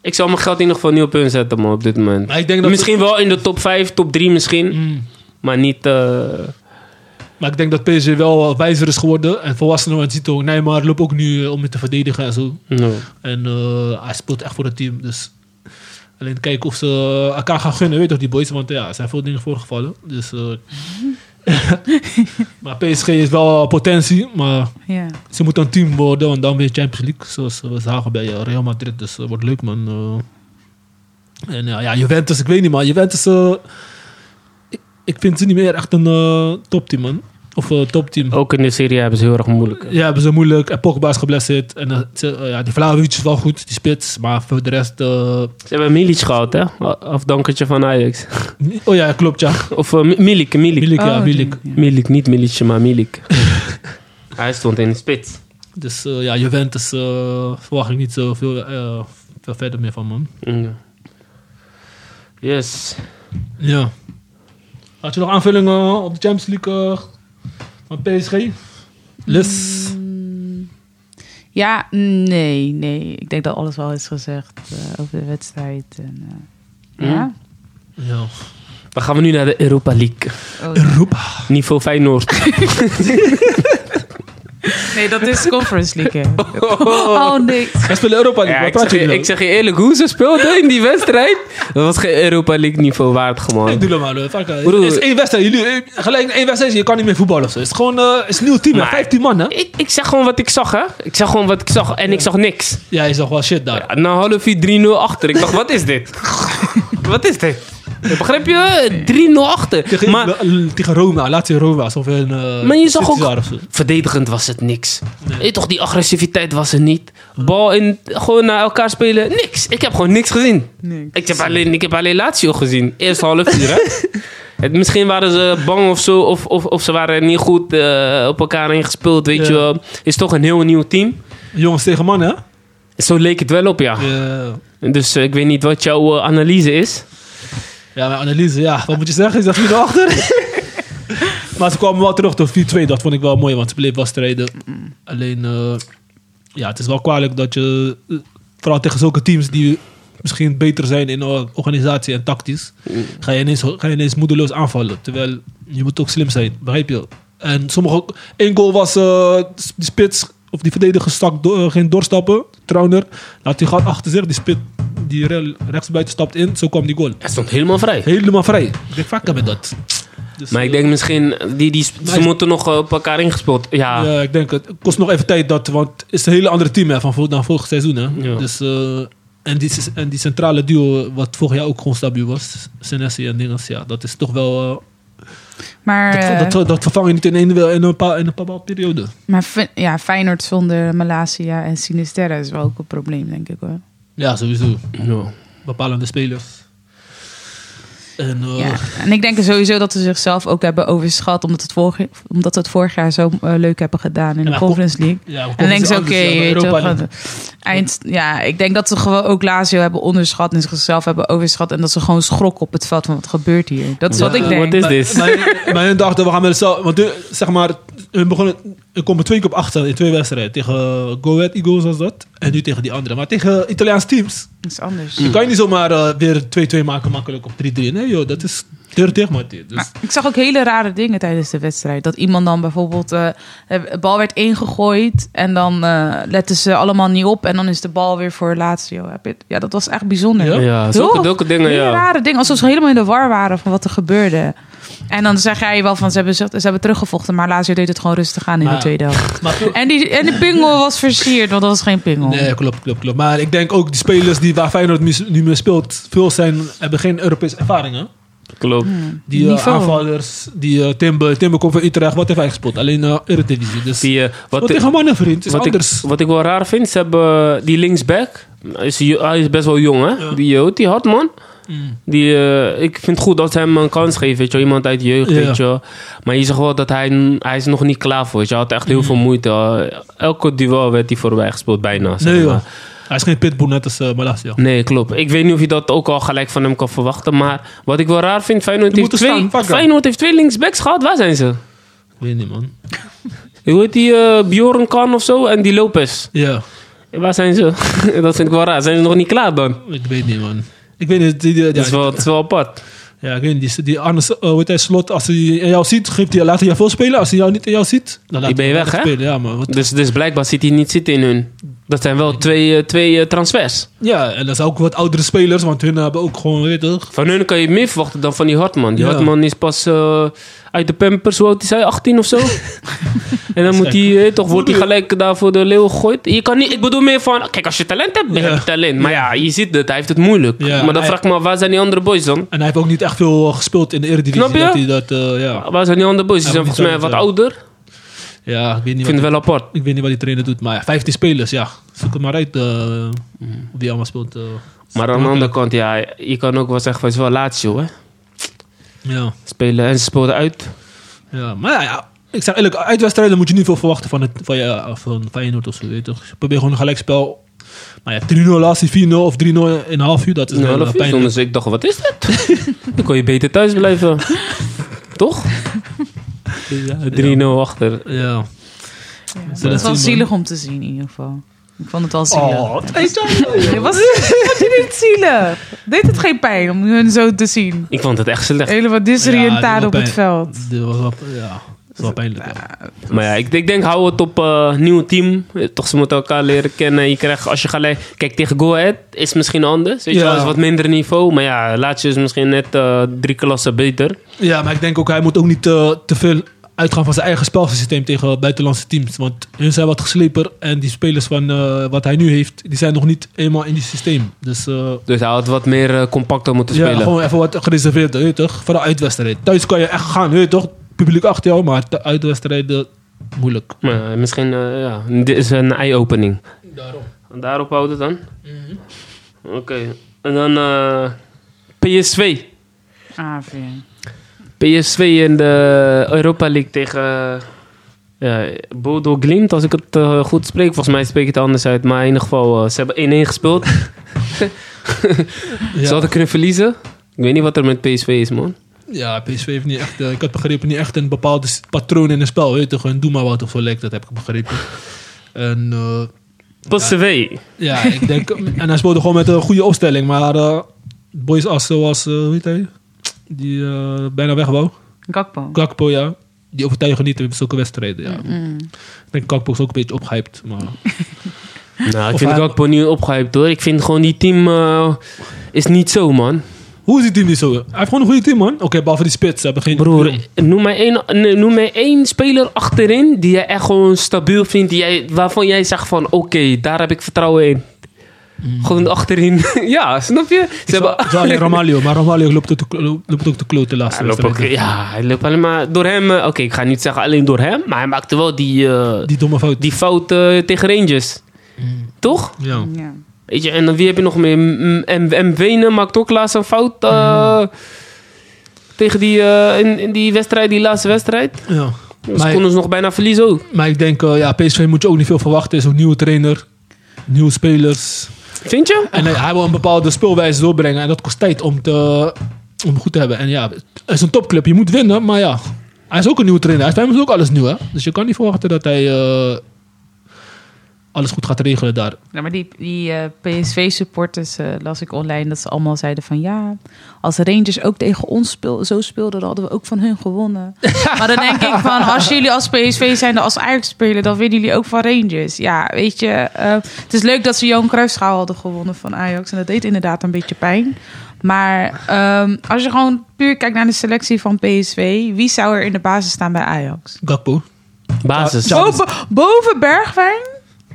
Speaker 2: Ik zou mijn geld in ieder geval niet op hun zetten, man, op dit moment.
Speaker 3: Maar ik denk dat...
Speaker 2: Misschien wel in de top 5, top 3 misschien,
Speaker 3: Mm.
Speaker 2: maar niet... eh,
Speaker 3: Maar ik denk dat PSG wel eh, wijzer is geworden. En volwassenen, want je ziet ook Neymar loopt ook nu eh, om het te verdedigen en zo.
Speaker 2: no.
Speaker 3: En eh, hij speelt echt voor het team. Dus alleen kijken of ze elkaar gaan gunnen, weet je toch, die boys. Want ja, er zijn veel dingen voorgevallen. Dus, eh, maar PSG is wel potentie, maar
Speaker 4: Ja.
Speaker 3: ze moeten een team worden. Want dan weer Champions League, zoals we zagen bij eh, Real Madrid. Dus dat wordt leuk, man. Eh, en ja, ja, Juventus, ik weet niet, man. Juventus, eh, ik, ik vind ze niet meer echt een eh, topteam, man. Of eh, topteam.
Speaker 2: Ook in de serie hebben ze heel erg moeilijk.
Speaker 3: Ja, hebben ze moeilijk. En Pogba is geblesseerd. En eh, ze- eh, ja, die Vlahovic is wel goed, die spits. Maar voor de rest... eh,
Speaker 2: Ze hebben Milic gehad, hè? Afdankertje van Ajax.
Speaker 3: niet- oh ja, klopt, ja.
Speaker 2: Of eh, Mi- Milik, Milik.
Speaker 3: Milik, ja,
Speaker 4: Oh,
Speaker 3: Milik.
Speaker 4: die- ja.
Speaker 2: Milik, niet Milic, maar Milik. Hij stond in de spits.
Speaker 3: Dus eh, ja, Juventus eh, verwacht ik niet zoveel eh, veel verder meer van, man.
Speaker 2: Ja. Yes.
Speaker 3: Ja. Had je nog aanvullingen op de Champions League eh, van PSG? Les.
Speaker 4: Mm. Ja, nee, nee. Ik denk dat alles wel is gezegd eh, over de wedstrijd. En, eh, Ja?
Speaker 3: Ja.
Speaker 2: Dan gaan we nu naar de Europa League.
Speaker 4: Oh,
Speaker 3: Roepa.
Speaker 2: Niveau Feyenoord.
Speaker 4: nee, dat is Conference League. hè. Oh nee.
Speaker 3: Hij speelt Europa League.
Speaker 2: Ja,
Speaker 3: Waar
Speaker 2: ik,
Speaker 3: praat
Speaker 2: zeg
Speaker 3: je
Speaker 2: je,
Speaker 3: nu?
Speaker 2: ik zeg je eerlijk, hoe ze speelden in die wedstrijd, dat was geen Europa League niveau waard gewoon.
Speaker 3: Doe dat maar, eh, vaak, eh,
Speaker 2: Broer.
Speaker 3: Het is één wedstrijd. Jullie, eh, gelijk één wedstrijd, je kan niet meer voetballen of zo. Het is gewoon eh, het is een nieuw team, hè.
Speaker 2: Maar-
Speaker 3: 15 man, hè?
Speaker 2: Ik, ik zag gewoon wat ik zag, hè. Ik zag gewoon wat ik zag en ik zag niks.
Speaker 3: Ja, je zag wel shit daar.
Speaker 2: Ja, Na half uur 3-0 achter. Ik dacht, wat is dit? wat is dit? Begrijp je? 3-0 achter.
Speaker 3: Tegen,
Speaker 2: Maar
Speaker 3: l- tegen Roma, Lazio Roma. Alsof een, eh,
Speaker 2: Maar je zag
Speaker 3: City
Speaker 2: ook-
Speaker 3: daar of zo.
Speaker 2: verdedigend was het niks. Eh, Toch, die agressiviteit was er niet. Bal in, gewoon naar elkaar spelen, niks. Ik heb gewoon niks gezien.
Speaker 4: nee.
Speaker 2: Ik heb alleen, ik heb alleen Lazio gezien. Eerst half uur, hè? Het, misschien waren ze bang of zo, of, of, of ze waren niet goed eh, op elkaar ingespeeld, weet
Speaker 3: Ja.
Speaker 2: je wel. Is toch een heel nieuw team.
Speaker 3: Jongens tegen mannen, hè?
Speaker 2: Zo leek het wel op, ja.
Speaker 3: Ja.
Speaker 2: Dus eh, ik weet niet wat jouw eh, analyse is.
Speaker 3: Ja, mijn analyse, ja. Wat moet je zeggen? Is dat 4-0 achter? maar ze kwamen wel terug tot 4-2. Dat vond ik wel mooi, want ze bleef wel strijden. Alleen, eh, ja, het is wel kwalijk dat je... eh, Vooral tegen zulke teams die misschien beter zijn in eh, organisatie en tactisch... Ga je, ineens, ga je ineens moedeloos aanvallen. Terwijl, je moet ook slim zijn. Begrijp je? En sommige... Eén goal was eh, die spits... Of die verdediger stak do- eh, geen doorstappen. Trauner. Laat die gaat achter zich. Die spit die re- rechtsbuiten stapt in. Zo kwam die goal
Speaker 2: Hij stond helemaal vrij.
Speaker 3: helemaal vrij. Ik denk vaker met dat. Dus,
Speaker 2: Maar ik
Speaker 3: eh,
Speaker 2: denk misschien, die, die, ze
Speaker 3: Maar-
Speaker 2: moeten nog eh, op elkaar ingespeeld. Ja,
Speaker 3: Ja, ik denk het kost nog even tijd dat, want het is een hele andere team hè, van vo- dan vorig seizoen. Hè.
Speaker 2: Ja.
Speaker 3: Dus, eh, en, die, en die centrale duo, wat vorig jaar ook gewoon stabiel was, Senesi en Dingens, ja, dat is toch wel. eh,
Speaker 4: Maar, eh,
Speaker 3: dat, dat, dat vervang je niet in een, in een, paar, in een bepaalde periode.
Speaker 4: maar Fe- ja, Feyenoord zonder Malasia en Sinisterra is wel ook een probleem, denk ik hoor.
Speaker 3: Ja, sowieso.
Speaker 2: Ja.
Speaker 3: Bepalende spelers. En, eh,
Speaker 4: Ja. En ik denk sowieso dat ze zichzelf ook hebben overschat, omdat, het vorig, omdat ze het vorig jaar zo eh, leuk hebben gedaan in
Speaker 3: Ja,
Speaker 4: de
Speaker 3: maar
Speaker 4: Conference League.
Speaker 3: ja,
Speaker 4: En dan denken ze, oké, weet eh, je
Speaker 3: Europa
Speaker 4: wel,
Speaker 3: League.
Speaker 4: gewoon- eind, ja, ik denk dat ze gewoon ook Lazio hebben onderschat en zichzelf hebben overschat. En dat ze gewoon schrokken op het veld van wat gebeurt hier. Dat is wat
Speaker 2: Ja,
Speaker 4: ik
Speaker 2: wat
Speaker 4: denk.
Speaker 2: is dit?
Speaker 3: Maar, maar- maar hun dachten, we gaan met zo. Want hun, zeg maar, hun begonnen. Hun komen twee keer op achter in twee wedstrijden. Tegen eh, Go Ahead Eagles was dat. En nu tegen die andere. Maar tegen Italiaanse teams.
Speaker 4: Dat is anders.
Speaker 3: Je kan je niet zomaar eh, weer 2-2 maken makkelijk op 3-3. Nee joh, dat is deur dicht maar dit. Dus,
Speaker 4: Maar ik zag ook hele rare dingen tijdens de wedstrijd. Dat iemand dan bijvoorbeeld, eh, de bal werd ingegooid en dan eh, letten ze allemaal niet op. En dan is de bal weer voor Lazio. Heb je- Ja, dat was echt bijzonder.
Speaker 3: Ja? nou
Speaker 2: ja zulke, zulke dingen,
Speaker 4: Hele
Speaker 2: ja.
Speaker 4: rare dingen. Alsof ze helemaal in de war waren van wat er gebeurde. En dan zeg jij wel van ze hebben, ze hebben teruggevochten. Maar Lazio deed het gewoon rustig aan in
Speaker 3: Maar-
Speaker 4: de tweede helft.
Speaker 3: maar,
Speaker 4: En, die, en de pingel was versierd, want dat was geen pingel.
Speaker 3: nee, klopt, klopt, klopt. Maar ik denk ook die spelers die waar Feyenoord mis- nu mee speelt, veel zijn, hebben geen Europese ervaringen.
Speaker 2: Klopt.
Speaker 3: Die eh,
Speaker 4: Niveau.
Speaker 3: aanvallers, die eh, Timber, Timber komt van Utrecht, wat heeft hij gespeeld? Alleen eh Eredivisie. Dus,
Speaker 2: Die, eh,
Speaker 3: wat
Speaker 2: wat, ik-
Speaker 3: tegen mannen vriend, is
Speaker 2: wat, ik,
Speaker 3: anders.
Speaker 2: wat ik wel raar vind, ze hebben eh, die linksback. Is, jo- hij is best wel jong, hè? Die Jood, die Hartman.
Speaker 3: Mm.
Speaker 2: Die, eh, ik vind het goed dat ze hem een kans geven, weet je wel. Iemand uit de jeugd,
Speaker 3: Ja.
Speaker 2: weet je wel. Maar je zegt wel dat hij, hij is nog niet klaar voor is. Hij had echt
Speaker 3: Hmm.
Speaker 2: heel veel moeite. eh. Elke duel werd hij voorbij gespeeld, bijna. zeg
Speaker 3: Nee,
Speaker 2: maar.
Speaker 3: joh. Hij is geen pitbull net als eh, Malasia.
Speaker 2: Nee, klopt. Ik weet niet of je dat ook al gelijk van hem kan verwachten. Maar wat ik wel raar vind, Feyenoord,
Speaker 3: Die
Speaker 2: heeft
Speaker 3: moeten
Speaker 2: twee,
Speaker 3: staan, vakken.
Speaker 2: Feyenoord heeft twee linksbacks gehad. Waar zijn ze?
Speaker 3: Ik weet niet, man.
Speaker 2: Hoe heet die? eh Bjorn Kan of zo en die Lopez.
Speaker 3: Ja,
Speaker 2: Waar zijn ze? dat vind ik wel raar. Zijn ze nog niet klaar dan?
Speaker 3: ik weet niet, man. Ik weet niet, die, die- ja,
Speaker 2: Dat is wel, dat is wel apart.
Speaker 3: ja, ik weet niet, die, die Arne, S- eh, hoe heet hij, Slot, als hij in jou ziet, geeft hij, laat hij jou veel spelen. Als hij jou niet in jou ziet, dan laat
Speaker 2: Die ben
Speaker 3: hij jou
Speaker 2: je
Speaker 3: niet
Speaker 2: weg, hè?
Speaker 3: spelen. Ja, maar wat-
Speaker 2: Dus, dus blijkbaar zit hij niet zitten in hun. Dat zijn wel twee, eh, twee eh, transfers.
Speaker 3: ja, en dat zijn ook wat oudere spelers, want hun hebben ook gewoon, weet je toch,
Speaker 2: Van hun kan je meer verwachten dan van die Hartman. Die
Speaker 3: Ja.
Speaker 2: Hartman is pas eh, uit de pampers, hoe oud is hij? 18 of zo? en dan moet hij, eh, toch, wordt hij gelijk daar voor de leeuw gegooid. Je kan niet, ik bedoel meer van, kijk, als je talent hebt,
Speaker 3: Ja.
Speaker 2: heb je talent. Maar ja, je ziet het, hij heeft het moeilijk.
Speaker 3: Ja,
Speaker 2: maar dan
Speaker 3: hij-
Speaker 2: vraag ik me, af, waar zijn die andere boys dan?
Speaker 3: en hij heeft ook niet echt veel eh, gespeeld in de Eredivisie.
Speaker 2: Snap je?
Speaker 3: Dat hij dat, eh, ja.
Speaker 2: Waar zijn die andere boys? Ze
Speaker 3: Hij
Speaker 2: zijn
Speaker 3: moet
Speaker 2: volgens mij
Speaker 3: niet
Speaker 2: wat
Speaker 3: zo-
Speaker 2: ouder. Ik
Speaker 3: ja, ik weet niet
Speaker 2: vind
Speaker 3: wat
Speaker 2: het wel apart.
Speaker 3: ik weet niet wat die trainer doet, maar ja, 15 spelers, ja. Zoek het maar uit eh,
Speaker 2: Mm.
Speaker 3: wie allemaal speelt. eh.
Speaker 2: Maar aan de andere kant, ja, je kan ook wel zeggen, van, het is wel Lazio, hè?
Speaker 3: ja.
Speaker 2: Spelen en ze speelden uit.
Speaker 3: Ja, maar ja, Ik zeg eerlijk, uitwedstrijden moet je niet veel verwachten van, het, van, je, eh, van Feyenoord of zo. Weet je toch? Je probeert gewoon een gelijkspel. Maar ja, 3-0 laatste, 4-0 of 3-0 in een half uur. Dat is
Speaker 2: Een
Speaker 3: wel,
Speaker 2: half
Speaker 3: eh,
Speaker 2: uur,
Speaker 3: pijnlijk.
Speaker 2: dus ik dacht, wat is dat? Dan kon je beter thuis blijven. Toch? Ja, 3-0 achter.
Speaker 3: Ja.
Speaker 4: Het was wel
Speaker 3: zien,
Speaker 4: zielig om te zien in ieder geval. Ik vond het wel zielig.
Speaker 3: Oh,
Speaker 4: het was, het was, vond je dit zielig? Deed het geen pijn om hun zo te zien?
Speaker 2: Ik vond het echt slecht.
Speaker 4: Helemaal
Speaker 3: Ja,
Speaker 4: disoriëntaat
Speaker 3: die
Speaker 4: op het
Speaker 3: pijn-
Speaker 4: veld.
Speaker 3: Dat was wel, ja, dat is wel pijnlijk. ja.
Speaker 2: Maar ja, ik, ik denk, hou het op eh nieuw team. Eh, Toch, ze moeten elkaar leren kennen. Je krijgt, als je gelijk... Kijk, tegen Go Ahead is misschien anders. Weet je
Speaker 3: Ja.
Speaker 2: wel, is wat minder niveau. Maar ja, Lazio is misschien net eh, drie klassen beter.
Speaker 3: Ja, maar ik denk ook, hij moet ook niet eh, te veel uitgaan van zijn eigen spelsysteem tegen buitenlandse teams. Want hun zijn wat gesleper en die spelers van eh, wat hij nu heeft, die zijn nog niet eenmaal in die systeem. Dus eh,
Speaker 2: Dus hij had wat meer eh, compacter moeten
Speaker 3: ja,
Speaker 2: spelen.
Speaker 3: gewoon even wat gereserveerd, weet je toch? Voor de uitwedstrijd. Thuis kan je echt gaan, weet je toch? Publiek achter jou, maar de uitwedstrijden, moeilijk.
Speaker 2: Maar eh, misschien, eh, ja, dit is een eye-opening.
Speaker 3: Daarom.
Speaker 2: Daarop houden dan? Oké. En dan eh, PSV.
Speaker 4: AV.
Speaker 2: PSV in de Europa League tegen eh, ja, Bodo Glimt, als ik het eh, goed spreek. Volgens mij spreek ik het anders uit, maar in ieder geval, eh, ze hebben 1-1 gespeeld.
Speaker 3: Ja,
Speaker 2: Ze hadden kunnen verliezen. Ik weet niet wat er met PSV is, man.
Speaker 3: ja, PSV heeft niet echt, eh, ik had begrepen, niet echt een bepaald s- patroon in een spel, weet je toch? Een doe maar wat of zo lijkt, dat heb ik begrepen. En... eh,
Speaker 2: PSV.
Speaker 3: Ja, ik denk. en hij speelde gewoon met een goede opstelling. Maar eh, boys als zoals, eh, hoe heet hij? Die eh, bijna weg wou.
Speaker 4: Gakpo.
Speaker 3: Kakpo, ja. Die overtuigen niet in zulke wedstrijden. Ja.
Speaker 4: Mm.
Speaker 3: Ik denk Kakpo is ook een beetje opgehyped. Maar
Speaker 2: Nou, ik
Speaker 3: Of
Speaker 2: vind
Speaker 3: hij-
Speaker 2: Gakpo nu opgehyped, hoor. Ik vind gewoon die team eh, is niet zo, man.
Speaker 3: hoe is die team niet zo? Hij heeft gewoon een goede team, man. Oké, behalve die spits. Ze hebben geen.
Speaker 2: Broer, noem mij één, nee, noem mij één speler achterin die jij echt gewoon stabiel vindt. Die jij, waarvan jij zegt van, oké, daar heb ik vertrouwen in.
Speaker 3: Mm.
Speaker 2: Gewoon achterin. ja, snap je? Ze
Speaker 3: Ze hebben. alleen Romario. Maar Romario loopt, ook te klo- loopt ook te kloot de
Speaker 2: Hij
Speaker 3: laatste
Speaker 2: loopt ook,
Speaker 3: wedstrijden.
Speaker 2: ja, hij loopt alleen maar door hem. eh, Oké, ik ga niet zeggen alleen door hem, maar hij maakte wel die, eh,
Speaker 3: Die domme fout.
Speaker 2: die fout eh, tegen Rangers. Toch?
Speaker 3: Ja.
Speaker 4: Ja.
Speaker 2: Weet je, en dan wie heb je nog meer? M- M- MVN maakt ook laatst een fout eh, tegen die, eh, in, in die wedstrijd, die laatste wedstrijd.
Speaker 3: ja.
Speaker 2: Ze
Speaker 3: Maar,
Speaker 2: konden ze nog bijna verliezen ook.
Speaker 3: maar ik denk, eh, ja, PSV moet je ook niet veel verwachten. Is een nieuwe trainer, nieuwe spelers.
Speaker 2: Vind je?
Speaker 3: En hij, hij wil een bepaalde speelwijze doorbrengen. En dat kost tijd om, te, om goed te hebben. En ja, het is een topclub. Je moet winnen. Maar ja, hij is ook een nieuwe trainer. Hij is bij hem is ook alles nieuw. Hè? Dus je kan niet verwachten dat hij eh, alles goed gaat regelen daar.
Speaker 4: Ja, maar die, die eh, PSV-supporters eh, las ik online dat ze allemaal zeiden van ja, als de Rangers ook tegen ons speel, zo speelden, dan hadden we ook van hun gewonnen. maar dan denk ik van als jullie als PSV zijn als Ajax spelen, dan winnen jullie ook van Rangers. Ja, weet je, eh, het is leuk dat ze Johan Cruijffschaal hadden gewonnen van Ajax en dat deed inderdaad een beetje pijn. Maar ehm, als je gewoon puur kijkt naar de selectie van PSV, wie zou er in de basis staan bij Ajax?
Speaker 3: Gakpo.
Speaker 2: Basis.
Speaker 3: Ja,
Speaker 4: Boven, boven Bergwijn?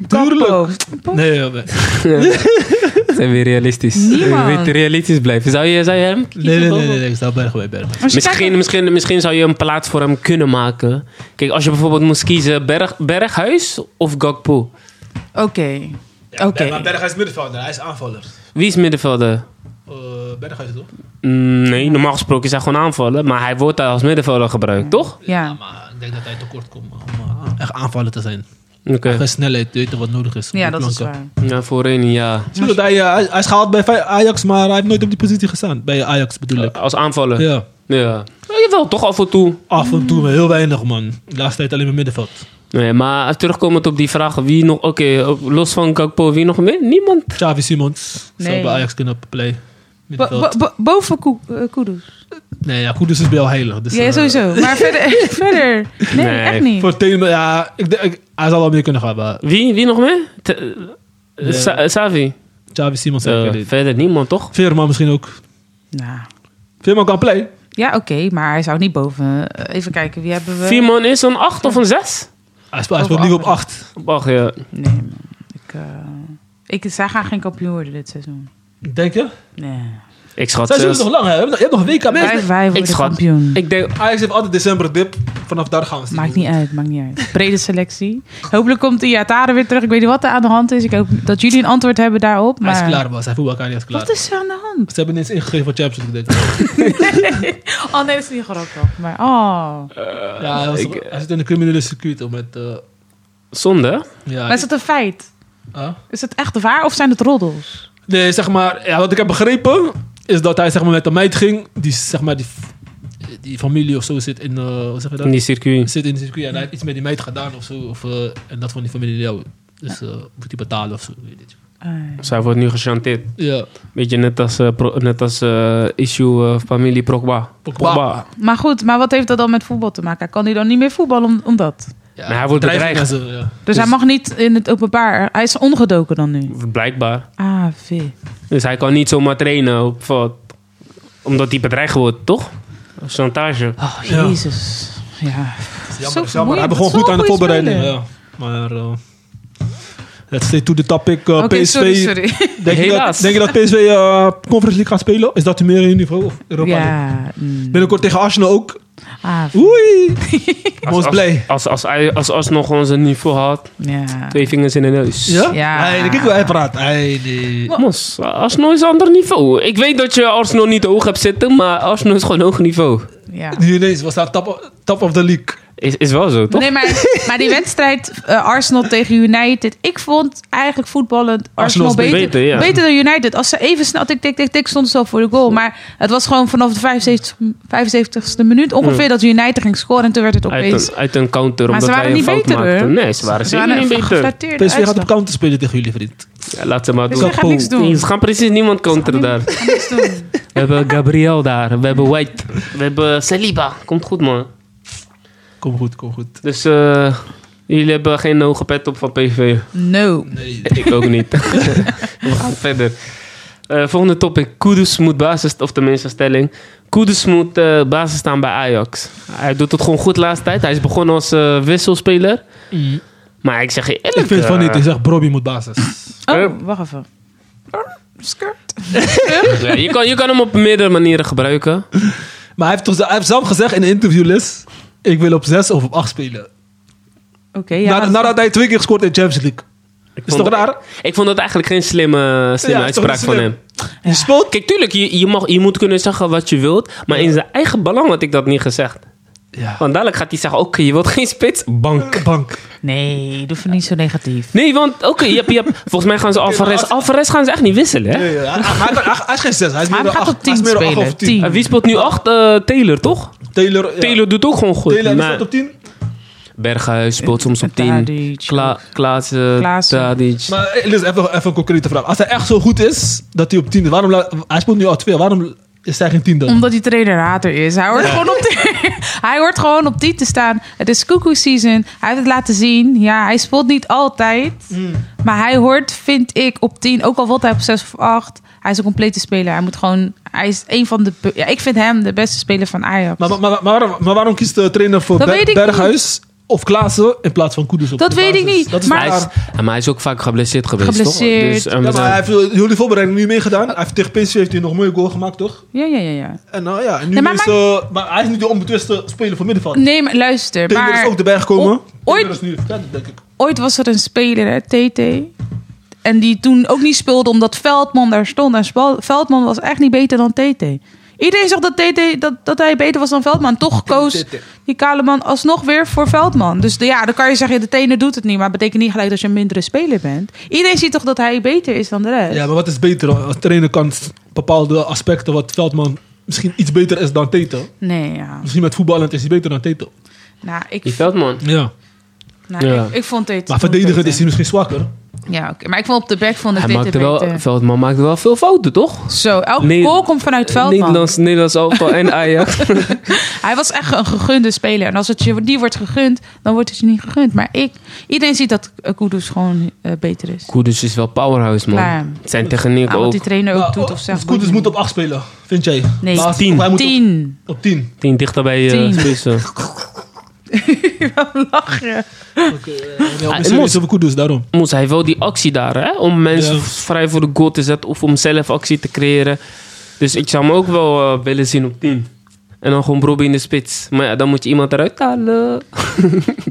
Speaker 4: Gakpo.
Speaker 3: Nee, ja, nee,
Speaker 2: Zijn weer realistisch.
Speaker 4: Niemand.
Speaker 2: Weet je, realistisch blijven. Zou je, zou je hem kiezen?
Speaker 3: nee, nee, nee,
Speaker 2: Bobo?
Speaker 3: nee, Ik sta Bergwijn, Bergwijn.
Speaker 4: Als je kijkt
Speaker 2: Misschien, misschien, misschien zou je een plaats voor hem kunnen maken. Kijk, als je bijvoorbeeld moest kiezen Berg, Berghuis of Gakpo.
Speaker 4: Oké. Oké.
Speaker 3: Bergwijn is middenvelder. Hij is aanvaller.
Speaker 2: Wie is middenvelder?
Speaker 3: Bergwijn is toch?
Speaker 2: Mm, Nee, normaal gesproken is hij gewoon aanvallen. Maar hij wordt daar als middenvelder gebruikt, toch?
Speaker 4: Ja.
Speaker 3: maar ik denk dat hij tekort komt om Ah, echt aanvaller te zijn.
Speaker 2: Oké.
Speaker 3: Geen snelheid, weet je wat nodig is.
Speaker 4: ja, dat is waar.
Speaker 2: Ja, voorin, ja.
Speaker 3: Zie je dat hij, eh, hij, hij is gehaald bij Fey- Ajax, maar hij heeft nooit op die positie gestaan. Bij Ajax bedoel ik.
Speaker 2: Als aanvaller. Ja.
Speaker 3: Ja.
Speaker 2: Nou, jawel, toch af en toe.
Speaker 3: Af en toe, maar heel weinig, man. De laatste tijd alleen maar middenveld.
Speaker 2: Nee, maar terugkomend op die vraag, wie nog... Oké, op- los van Gakpo, wie nog meer? Niemand.
Speaker 3: Xavi Simons zou
Speaker 4: Nee.
Speaker 3: bij Ajax kunnen play.
Speaker 4: Bo-
Speaker 3: Middenveld.
Speaker 4: bo- bo- boven Koe- eh, Kudus.
Speaker 3: nee, ja, Koeders is bij jou heilig. Dus,
Speaker 4: ja,
Speaker 3: eh,
Speaker 4: sowieso. Maar verder, verder. Nee,
Speaker 2: Nee,
Speaker 4: echt niet.
Speaker 3: Voor Telen, ja, ik, denk- ik- hij zal wel meer kunnen gaan, maar
Speaker 2: Wie, wie nog meer? Te- eh,
Speaker 3: Ja.
Speaker 2: Sa- eh, Savi?
Speaker 3: Xavi Simons
Speaker 2: Eh,
Speaker 3: zeker niet.
Speaker 2: verder niemand, toch?
Speaker 3: Veerman misschien ook.
Speaker 4: Nou.
Speaker 3: Veerman kan play.
Speaker 4: Ja, oké, maar hij zou niet boven. eh, Even kijken, wie hebben we?
Speaker 2: Vier man is een 8 of een 6?
Speaker 3: Hij speelt, hij
Speaker 4: Over
Speaker 3: speelt nu op
Speaker 4: acht.
Speaker 3: 8.
Speaker 2: Ach ja.
Speaker 4: Nee, man. Ik, eh, ik, zij gaan geen kampioen worden dit seizoen.
Speaker 3: Denk je?
Speaker 4: Nee.
Speaker 2: Ik schat
Speaker 3: Zij zullen
Speaker 2: zes.
Speaker 3: het nog lang hebben. Je hebt nog een week aan
Speaker 4: Wij,
Speaker 3: mensen.
Speaker 4: wij worden
Speaker 2: schat-
Speaker 4: kampioen.
Speaker 2: Ik denk,
Speaker 3: Ajax heeft altijd december dip. vanaf daar gaan we.
Speaker 4: Maakt niet uit, maakt niet uit. Brede selectie. Hopelijk komt Iatare weer terug. Ik weet niet wat er aan de hand is. Ik hoop dat jullie een antwoord hebben daarop.
Speaker 3: Hij
Speaker 4: Maar...
Speaker 3: is klaar, was. Hij voelt elkaar niet klaar.
Speaker 4: Wat is er aan de hand?
Speaker 3: Ze hebben ineens ingegeven voor Champions League. denk ik.
Speaker 4: Oh nee, dat is niet grappig. Maar oh.
Speaker 3: Ja, hij, was-
Speaker 2: ik-
Speaker 3: hij zit in de criminele circuit om met... eh,
Speaker 2: Zonde?
Speaker 3: ja,
Speaker 4: Maar is het een feit?
Speaker 3: Huh?
Speaker 4: Is het echt waar of zijn het roddels?
Speaker 3: Nee, zeg maar, ja, wat ik heb begrepen is dat hij zeg maar, met een meid ging, die, zeg maar, die, die familie of zo zit in, eh hoe zeg je dat?
Speaker 2: In die circuit.
Speaker 3: Zit in de circuit en hij heeft iets met die meid gedaan of zo. Of, eh, en dat van die familie jou. Dus eh, moet hij betalen of zo. Weet ik.
Speaker 4: Eh,
Speaker 2: Zij wordt nu gechanteerd.
Speaker 3: Ja,
Speaker 2: Beetje net als, eh, pro- net als eh, issue eh, familie Prokba.
Speaker 3: Pogba.
Speaker 4: maar goed, maar wat heeft dat dan met voetbal te maken? Kan hij dan niet meer voetballen om, om dat?
Speaker 3: ja
Speaker 2: Maar hij wordt
Speaker 3: bedreiging
Speaker 2: bedreigd.
Speaker 3: en zo, ja.
Speaker 4: Dus, hij mag niet in het openbaar. Hij is ongedoken dan nu.
Speaker 2: Blijkbaar.
Speaker 4: Ah, v.
Speaker 2: Dus hij kan niet zomaar trainen. Op, wat- omdat hij bedreigd wordt, toch? Chantage.
Speaker 4: Oh,
Speaker 3: Ja.
Speaker 4: jezus. Ja.
Speaker 3: Het is
Speaker 4: Zo
Speaker 3: jammer, jammer. Hij
Speaker 4: vermoeiend.
Speaker 3: begon
Speaker 4: Zo'n
Speaker 3: goed aan de
Speaker 4: goeie
Speaker 3: voorbereiding.
Speaker 4: speler.
Speaker 3: Ja. Maar eh let's stay to the topic. eh,
Speaker 4: Oké,
Speaker 3: PSV.
Speaker 4: sorry, sorry.
Speaker 3: Denk, je dat,
Speaker 2: Helaas.
Speaker 3: denk je dat PSV eh, Conference League gaat spelen? Is dat meer in niveau of Europa League?
Speaker 4: Ja. mm.
Speaker 3: Binnenkort tegen Arsenal ook.
Speaker 4: Ah, v.
Speaker 3: Oei!
Speaker 2: Als-
Speaker 3: Moos
Speaker 2: als-
Speaker 3: blij.
Speaker 2: Als, als, hij- als, alsnog ons een niveau had.
Speaker 4: Ja.
Speaker 2: Twee vingers in de neus.
Speaker 3: Ja?
Speaker 4: Ja.
Speaker 3: Hey, dan kijk hoe hij praat. Hey, nee.
Speaker 2: Mos, Arsenal is een ander niveau. Ik weet dat je Arsenal niet hoog hebt zitten, maar Arsenal is gewoon hoog niveau.
Speaker 4: ja.
Speaker 3: Nu ineens was dat top, top of the league.
Speaker 2: Is, is wel zo, toch?
Speaker 4: Nee, maar, maar die wedstrijd eh, Arsenal tegen United. Ik vond eigenlijk voetballend
Speaker 3: Arsenal
Speaker 4: Arsenal,
Speaker 3: is
Speaker 4: beter,
Speaker 2: beter, ja.
Speaker 4: beter dan United. Als ze even snel tik, tik, tik, tik stonden ze al voor de goal. Maar het was gewoon vanaf de 75, 75ste minuut ongeveer
Speaker 2: Mm.
Speaker 4: dat United ging scoren. En toen werd het
Speaker 2: uit,
Speaker 4: opeens...
Speaker 2: een, uit een counter,
Speaker 4: Maar
Speaker 2: omdat
Speaker 4: ze
Speaker 2: wij
Speaker 4: waren
Speaker 2: een
Speaker 4: niet
Speaker 2: fout
Speaker 4: beter,
Speaker 2: maakten.
Speaker 4: hoor.
Speaker 2: Nee, ze waren
Speaker 4: Ze
Speaker 2: zeker
Speaker 4: waren
Speaker 2: niet beter.
Speaker 4: geflatteerd.
Speaker 3: PSV gaat op
Speaker 4: uitslag.
Speaker 3: counter spelen tegen jullie, vriend.
Speaker 2: Ja, laat ze maar
Speaker 4: Dus ze
Speaker 2: doen.
Speaker 4: gaan niks
Speaker 2: Nee,
Speaker 4: doen.
Speaker 2: Ze gaan precies niemand counteren daar.
Speaker 4: Ze gaan niks doen.
Speaker 2: We hebben Gabriel daar, we hebben White, we hebben Saliba. Komt goed, man.
Speaker 3: Kom goed, kom goed.
Speaker 2: Dus eh, jullie hebben geen hoge pet op van PV.
Speaker 4: No.
Speaker 3: Nee.
Speaker 2: Ik ook niet. we gaan verder. Eh, volgende topic. Kudus moet basis, of tenminste stelling. Kudus moet eh, basis staan bij Ajax. Hij doet het gewoon goed de laatste tijd. Hij is begonnen als eh, wisselspeler. Maar Mm. ik zeg je eerlijk...
Speaker 3: Ik vind het van
Speaker 2: eh,
Speaker 3: niet. Ik zeg, Brobbie moet basis.
Speaker 4: Oh, wacht even. Skirt.
Speaker 2: ja, je, kan, je kan hem op meerdere manieren gebruiken.
Speaker 3: Maar hij heeft, toch, hij heeft zelf gezegd in een interviewles... Ik wil op zes of op acht spelen.
Speaker 4: Oké, ja.
Speaker 3: Na- nadat hij twee keer gescoord in de Champions League. Is
Speaker 2: vond-
Speaker 3: toch raar?
Speaker 2: Ik vond dat eigenlijk geen slimme, slimme
Speaker 3: Ja, is toch
Speaker 2: uitspraak
Speaker 3: niet
Speaker 2: van
Speaker 3: slim?
Speaker 2: hem.
Speaker 3: Je speelt...
Speaker 2: Kijk, tuurlijk, je, je, mag, je moet kunnen zeggen wat je wilt. Maar in zijn eigen belang had ik dat niet gezegd.
Speaker 3: Ja.
Speaker 2: Want dadelijk gaat hij zeggen, oké, je wilt geen spits? Bank.
Speaker 3: Bank.
Speaker 4: Nee, doe het niet zo negatief.
Speaker 2: Nee, want oké, je hebt- je hebt- volgens mij gaan ze Alvarez... Alvarez gaan ze echt niet wisselen, hè?
Speaker 3: nou, Nee, ja, hij, hij- hij- hij is geen zes. Hij is
Speaker 4: Maar
Speaker 3: meer dan
Speaker 4: hij gaat
Speaker 3: acht.
Speaker 4: op
Speaker 3: Hij is
Speaker 4: tien
Speaker 3: meer dan acht
Speaker 4: spelen.
Speaker 3: of tien.
Speaker 2: En
Speaker 4: Tien.
Speaker 2: wie speelt nu acht? Eh, Taylor, toch?
Speaker 3: Taylor, Ah. ja.
Speaker 2: Taylor doet ook gewoon goed.
Speaker 3: Taylor die
Speaker 2: maar
Speaker 3: staat op tien.
Speaker 2: Berghuis speelt soms op tien.
Speaker 4: Tadic.
Speaker 2: Kla Klaassen,
Speaker 4: Klaassen.
Speaker 2: Tadic.
Speaker 3: Maar eh, Liz, even, even een concrete vraag. Als hij echt zo goed is, dat hij op 10 is, waarom laat- hij speelt nu al 2, waarom is hij geen 10 dan?
Speaker 4: Omdat hij trainer hater is. Hij hoort, gewoon op die, hij hoort gewoon op die te staan. Het is cuckoo season. Hij heeft het laten zien. Ja, hij speelt niet altijd.
Speaker 3: Hmm.
Speaker 4: Maar hij hoort, vind ik, op 10. Ook al wordt hij op 6 of 8. Hij is een complete speler. Hij moet gewoon. Hij is een van de. be- Ja, ik vind hem de beste speler van Ajax.
Speaker 3: Maar, maar, maar, maar waarom, maar waarom kiest de trainer voor
Speaker 4: Dat
Speaker 3: Ber-
Speaker 4: weet ik
Speaker 3: Berghuis of Klaassen in plaats van Koeders? op
Speaker 4: Dat
Speaker 3: de
Speaker 4: weet ik
Speaker 3: basis?
Speaker 4: niet,
Speaker 3: Dat is
Speaker 4: maar-
Speaker 2: hij
Speaker 3: raar.
Speaker 2: is, ja, maar hij is ook vaak geblesseerd geweest,
Speaker 4: Geblesseerd.
Speaker 2: toch? Dus, ehm,
Speaker 3: Ja, maar hij heeft eh, heel die voorbereiding nu meegedaan. Hij heeft tegen PSV heeft hij nog een mooie goal gemaakt, toch?
Speaker 4: ja, ja, ja, ja.
Speaker 3: En nou ja, en nu
Speaker 4: Nee, maar
Speaker 3: is, eh, maar hij is nu de onbetwiste speler van middenveld.
Speaker 4: Nee, maar luister.
Speaker 3: Taylor
Speaker 4: Maar
Speaker 3: is ook erbij gekomen.
Speaker 4: o- ooit-
Speaker 3: Taylor is nu verder, denk ik.
Speaker 4: ooit was er een speler, hè, TT. En die toen ook niet speelde omdat Veldman daar stond. En Spal- Veldman was echt niet beter dan TT. Iedereen zegt dat, TT, dat, dat hij beter was dan Veldman. Toch koos
Speaker 3: TT.
Speaker 4: die kale man alsnog weer voor Veldman. Dus de- ja, dan kan je zeggen, de tenen doet het niet. Maar het betekent niet gelijk dat je een mindere speler bent. Iedereen ziet toch dat hij beter is dan de rest.
Speaker 3: Ja, maar wat is beter? Als trainer kan bepaalde aspecten wat Veldman misschien iets beter is dan Tete.
Speaker 4: Nee, ja.
Speaker 3: Misschien met voetballend is hij beter dan Tete.
Speaker 4: Nou,
Speaker 2: Die
Speaker 4: ik,
Speaker 2: Veldman.
Speaker 3: Ja.
Speaker 4: nou,
Speaker 2: Ja.
Speaker 4: ik, ik vond TT...
Speaker 3: Maar verdedigend
Speaker 4: beter.
Speaker 3: is hij misschien zwakker.
Speaker 4: Ja, oké. Maar ik vond op de back vond ik
Speaker 2: Hij
Speaker 4: TT
Speaker 2: maakte
Speaker 4: beter.
Speaker 2: wel, Veldman maakte wel veel fouten, toch?
Speaker 4: Zo, elke
Speaker 2: Nee-
Speaker 4: goal komt vanuit Veldman.
Speaker 2: Nederlands, Nederlands elftal en Ajax.
Speaker 4: Hij was echt een gegunde speler. En als het je die wordt gegund, dan wordt het je niet gegund. Maar ik, iedereen ziet dat eh, Kudus gewoon eh, beter is.
Speaker 2: Koeders dus is wel powerhouse, man.
Speaker 4: Klaar.
Speaker 2: Zijn techniek
Speaker 4: Ah, wat
Speaker 2: ook.
Speaker 4: die trainer ook
Speaker 3: Maar,
Speaker 4: doet
Speaker 3: oh,
Speaker 4: of zegt.
Speaker 3: dus Koeders moet op 8 spelen, vind jij?
Speaker 4: Nee.
Speaker 3: Maar als-
Speaker 2: Tien.
Speaker 3: of hij moet op-
Speaker 4: tien.
Speaker 3: Op 10.
Speaker 2: Tien dichter bij eh
Speaker 4: Tien.
Speaker 2: spitsen.
Speaker 4: Lachen.
Speaker 2: Ah,
Speaker 3: Ja,
Speaker 2: en
Speaker 3: misschien
Speaker 2: Mos.
Speaker 3: is over Koeders, daarom.
Speaker 2: moest hij wel die actie daar, hè? Om mensen
Speaker 3: Ja.
Speaker 2: vrij voor de goal te zetten of om zelf actie te creëren. Dus ik zou hem ook wel eh, willen zien op 10. En dan gewoon Brobbey in de spits. Maar ja, dan moet je iemand eruit halen.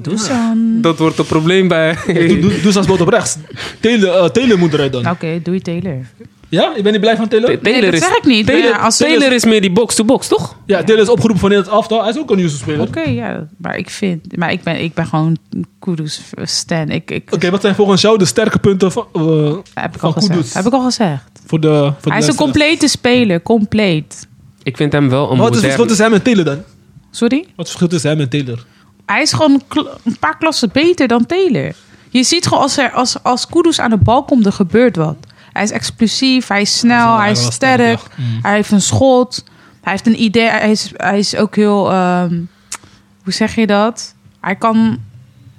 Speaker 4: Dusan.
Speaker 2: Dat wordt een probleem bij...
Speaker 3: Doe, doe, doe zelfs bot op rechts. Taylor, eh, Taylor moet eruit dan.
Speaker 4: Oké, doei Taylor.
Speaker 3: Ja? Je bent niet blij van Taylor?
Speaker 4: Nee, dat zeg ik niet, maar
Speaker 2: Taylor,
Speaker 4: ja, als- dus
Speaker 2: Taylor is meer die box-to-box, toch?
Speaker 3: Ja, Taylor is opgeroepen van in het aftal. Hij is ook een nieuwste speler.
Speaker 4: Oké,
Speaker 3: Oké,
Speaker 4: ja. Maar ik vind... Maar ik ben, ik ben gewoon Kudus stan. Ik, ik,
Speaker 3: wat zijn volgens jou de sterke punten van, eh,
Speaker 4: heb ik
Speaker 3: van
Speaker 4: al
Speaker 3: Kudus?
Speaker 4: gezegd. Heb ik al gezegd.
Speaker 3: voor de voor de
Speaker 4: Hij is een
Speaker 3: luisteraars?
Speaker 4: complete speler. Compleet.
Speaker 2: Ik vind hem wel
Speaker 3: Maar
Speaker 2: een
Speaker 3: Wat is het verschil
Speaker 2: modern...
Speaker 3: tussen hem en Taylor dan? Wat
Speaker 4: Sorry?
Speaker 3: is het verschil tussen hem en Taylor?
Speaker 4: Hij is gewoon een kl- een paar klassen beter dan Taylor. Je ziet gewoon als, er, als, als Kudus aan de bal komt, er gebeurt wat. Hij is explosief, hij is snel,
Speaker 3: wel-
Speaker 4: hij
Speaker 3: hij
Speaker 4: is
Speaker 3: wel
Speaker 4: sterk,
Speaker 3: sterk, ja. Mm.
Speaker 4: hij heeft een schot, hij heeft een idee, hij is, hij is ook heel, ehm, hoe zeg je dat? Hij kan,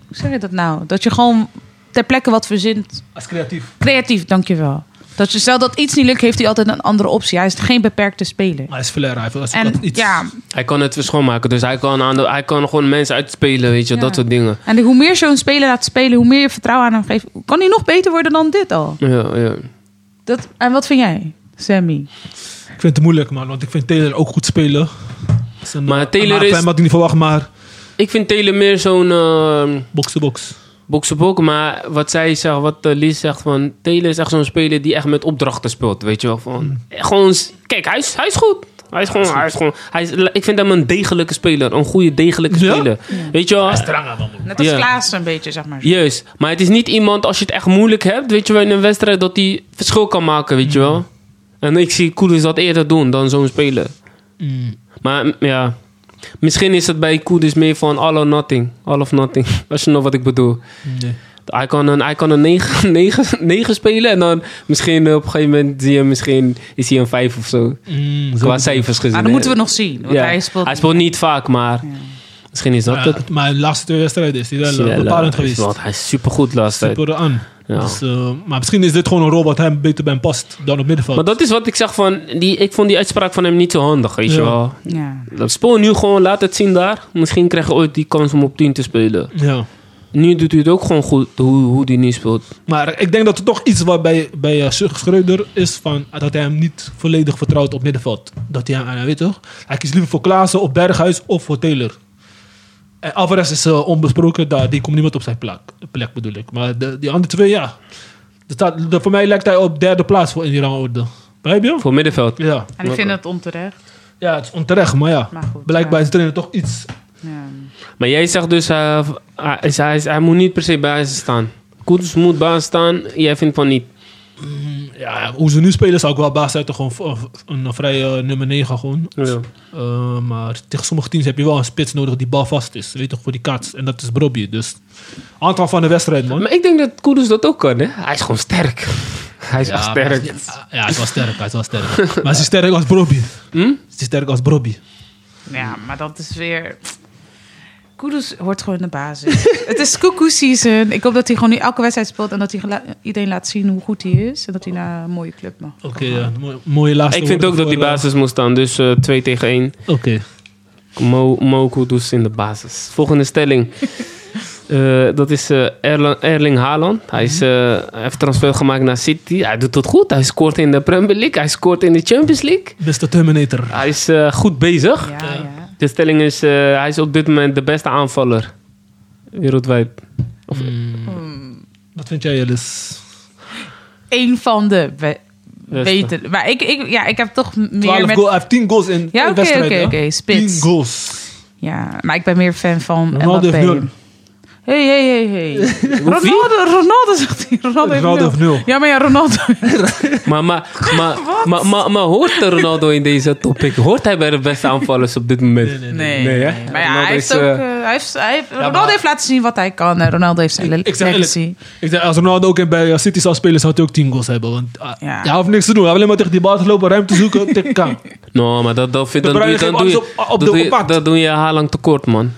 Speaker 4: hoe zeg je dat nou? Dat je gewoon ter plekke wat verzint.
Speaker 3: Als creatief.
Speaker 4: Creatief, dankjewel. Dat je, stel dat iets niet lukt, heeft hij altijd een andere optie. Hij is geen beperkte speler.
Speaker 3: Hij is flair. Hij heeft hij zoekt
Speaker 4: En
Speaker 3: altijd iets.
Speaker 4: ja,
Speaker 2: Hij kan het schoonmaken, dus hij kan, aan de, hij kan gewoon mensen uitspelen, weet je,
Speaker 4: Ja.
Speaker 2: dat soort dingen.
Speaker 4: en hoe meer je zo'n speler laat spelen, hoe meer je vertrouwen aan hem geeft, kan hij nog beter worden dan dit al.
Speaker 2: Ja, ja.
Speaker 4: Dat, en wat vind jij, Sammy?
Speaker 3: Ik vind het moeilijk, man. Want ik vind Taylor ook goed spelen. Is een,
Speaker 2: Maar
Speaker 3: eh,
Speaker 2: Taylor
Speaker 3: een
Speaker 2: is-
Speaker 3: Wat ik niet verwacht, maar
Speaker 2: Ik vind Taylor meer zo'n eh,
Speaker 3: box-to-box.
Speaker 2: box-to-box, maar wat zij zegt, wat eh, Lies zegt, van Taylor is echt zo'n speler die echt met opdrachten speelt, weet je wel. Van, gewoon, s- kijk, hij is, hij is goed. Hij is gewoon, Hmm. hij is gewoon, hij is, ik vind hem een degelijke speler, een goede degelijke
Speaker 3: Ja?
Speaker 2: speler. Weet je wel,
Speaker 4: Net als
Speaker 2: Ja.
Speaker 4: Klaas een beetje, zeg maar.
Speaker 2: Juist, maar het is niet iemand als je het echt moeilijk hebt, weet je wel, in een wedstrijd dat hij verschil kan maken, weet je wel. En ik zie Koeders dat eerder doen dan zo'n speler.
Speaker 3: Mm.
Speaker 2: Maar m- ja, misschien is het bij Koeders meer van all or nothing, all of nothing, als je nog wat ik bedoel.
Speaker 3: Nee.
Speaker 2: Hij kan een, hij kan een 9, 9, 9 spelen en dan misschien eh, op een gegeven moment zie je hem misschien is hij een 5 of zo.
Speaker 3: Mm, zo
Speaker 2: Qua
Speaker 3: bedoel-
Speaker 2: cijfers gezien. hè.
Speaker 4: Maar dat Ah, moeten we nog zien. Want
Speaker 2: Ja.
Speaker 4: hij speelt...
Speaker 2: niet vaak, maar misschien is dat
Speaker 3: Ja,
Speaker 2: het.
Speaker 3: maar de laatste twee wedstrijden is hij wel eh,
Speaker 2: Snelle,
Speaker 3: bepalend
Speaker 2: hij is
Speaker 3: geweest.
Speaker 2: wel- Hij is supergoed laatst tijd.
Speaker 3: Super aan.
Speaker 2: Ja.
Speaker 3: Dus, eh, maar misschien is dit gewoon een rol wat hem beter bij hem past dan op middenveld.
Speaker 2: Maar dat is wat ik zeg van, die, ik vond die uitspraak van hem niet zo handig, weet je
Speaker 3: Ja.
Speaker 2: wel.
Speaker 4: Ja.
Speaker 2: Dat Spoor nu gewoon, laat het zien daar. Misschien krijg je ooit die kans om op 10 te spelen.
Speaker 3: Ja.
Speaker 2: Nu doet hij het ook gewoon goed, hoe, hoe hij nu speelt.
Speaker 3: Maar ik denk dat het toch iets wat bij, bij eh, Schreuder is van dat hij hem niet volledig vertrouwt op middenveld. Dat hij hem, eh, weet je toch? Hij kiest liever voor Klaassen of Berghuis of voor Taylor. En Alvarez is eh, onbesproken, daar, die komt niemand op zijn plek, plek bedoel ik. Maar de, die andere twee, ja. Dat staat, dat- voor mij lijkt hij op derde plaats voor in die rangorde. Begrijp je?
Speaker 2: Voor middenveld.
Speaker 3: Ja.
Speaker 4: En ik vind het onterecht.
Speaker 3: ja, het is onterecht, maar ja.
Speaker 4: Maar goed,
Speaker 3: Blijkbaar
Speaker 4: ja.
Speaker 3: is de trainer toch iets.
Speaker 4: Ja.
Speaker 2: Maar jij zegt dus, eh, hij, is- hij, is- hij moet niet per se basis staan. Koets moet basis staan, jij vindt van niet.
Speaker 3: Ja, hoe ze nu spelen zou ik wel baas uit gewoon v- v- een vrije eh, nummer 9 gewoon.
Speaker 2: Ja.
Speaker 3: Eh, maar tegen sommige teams heb je wel een spits nodig die balvast is. Weet je toch, voor die kaats. En dat is Brobby. Dus aantal van de wedstrijd, man.
Speaker 2: Maar ik denk dat Koeders dat ook kan, hè? Hij is gewoon sterk. Hij is echt sterk.
Speaker 3: Ja, het was sterk. Het was sterk. maar het is sterk als Brobby.
Speaker 2: Hm?
Speaker 3: Het is sterk als Brobby.
Speaker 4: ja, maar dat is weer... Kudus hoort gewoon in de basis. het is cuckoo season. Ik hoop dat hij gewoon nu elke wedstrijd speelt... en dat hij gela- iedereen laat zien hoe goed hij is... en dat hij naar een mooie club mag.
Speaker 3: Oké, ja. Mooi- Mooie laatste
Speaker 2: Ik vind
Speaker 3: woorden
Speaker 2: ook dat die
Speaker 3: voor, eh,
Speaker 2: basis moet staan, dus eh 2 tegen 1.
Speaker 3: Oké.
Speaker 2: Mo, Mo Kudus in de basis. Volgende stelling. Eh, dat is eh, Erla- Erling Haaland. Hij, is, eh, hij heeft transfer gemaakt naar City. Hij doet het goed. Hij scoort in de Premier League. Hij scoort in de Champions League.
Speaker 3: Mr. Terminator.
Speaker 2: Hij is eh, goed bezig.
Speaker 4: Ja, ja.
Speaker 2: De stelling is, eh, hij is op dit moment de beste aanvaller. Wereldwijd. Of-
Speaker 3: Wat vind jij, Alice?
Speaker 4: Eén van de be-
Speaker 2: Beste.
Speaker 4: beter. Maar ik, ik, ja, ik heb toch meer
Speaker 3: 12
Speaker 4: met...
Speaker 3: goals. Hij heeft 10 goals in
Speaker 4: Ja,
Speaker 3: één
Speaker 4: oké,
Speaker 3: wedstrijd.
Speaker 4: oké,
Speaker 3: hè?
Speaker 4: oké, spits.
Speaker 3: 10 goals.
Speaker 4: Ja, maar ik ben meer fan van
Speaker 3: Ronaldo heeft nul.
Speaker 4: Mbappé. Hey, hey, hey, hey. Ronaldo, Ronaldo zegt hij. Ronaldo, heeft
Speaker 3: Ronaldo
Speaker 4: nul.
Speaker 3: heeft nul.
Speaker 4: Ja, maar ja, Ronaldo.
Speaker 2: Maar, maar, maar, maar, maar, maar hoort de Ronaldo in deze topic? Hoort hij bij de beste aanvallers op dit moment?
Speaker 3: nee.
Speaker 4: Nee.
Speaker 2: Nee, hè?
Speaker 4: Maar ja,
Speaker 2: Ronaldo
Speaker 4: hij heeft
Speaker 2: is,
Speaker 4: ook...
Speaker 2: eh,
Speaker 4: eh, hij heeft, hij heeft, Ronaldo
Speaker 3: maar-
Speaker 4: heeft laten zien wat hij kan. En Ronaldo heeft zijn le-
Speaker 3: Ik zeg
Speaker 4: legacy.
Speaker 3: eerlijk, ik zeg, als Ronaldo ook in bij eh, City zou spelen, zou hij ook 10 goals hebben. Want ah,
Speaker 4: Ja.
Speaker 3: hij hoeft niks te doen. Hij wil alleen maar tegen die bal te lopen, ruimte zoeken, tikken kan.
Speaker 2: No, Nou, maar dat, dat, vind,
Speaker 3: De
Speaker 2: dan doe je,
Speaker 3: Bruyne
Speaker 2: dan doe
Speaker 3: geeft
Speaker 2: je,
Speaker 3: alles op- op
Speaker 2: dat
Speaker 3: de
Speaker 2: doe je,
Speaker 3: oppak.
Speaker 2: dat doe je haar lang tekort, man.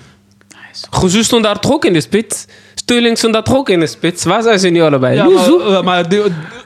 Speaker 2: Gezus stond daar toch ook in de spits? Sterling stond daar toch ook in de spits? Waar zijn ze nu allebei?
Speaker 3: Ja, maar,
Speaker 2: Loezoe.
Speaker 3: eh, maar die-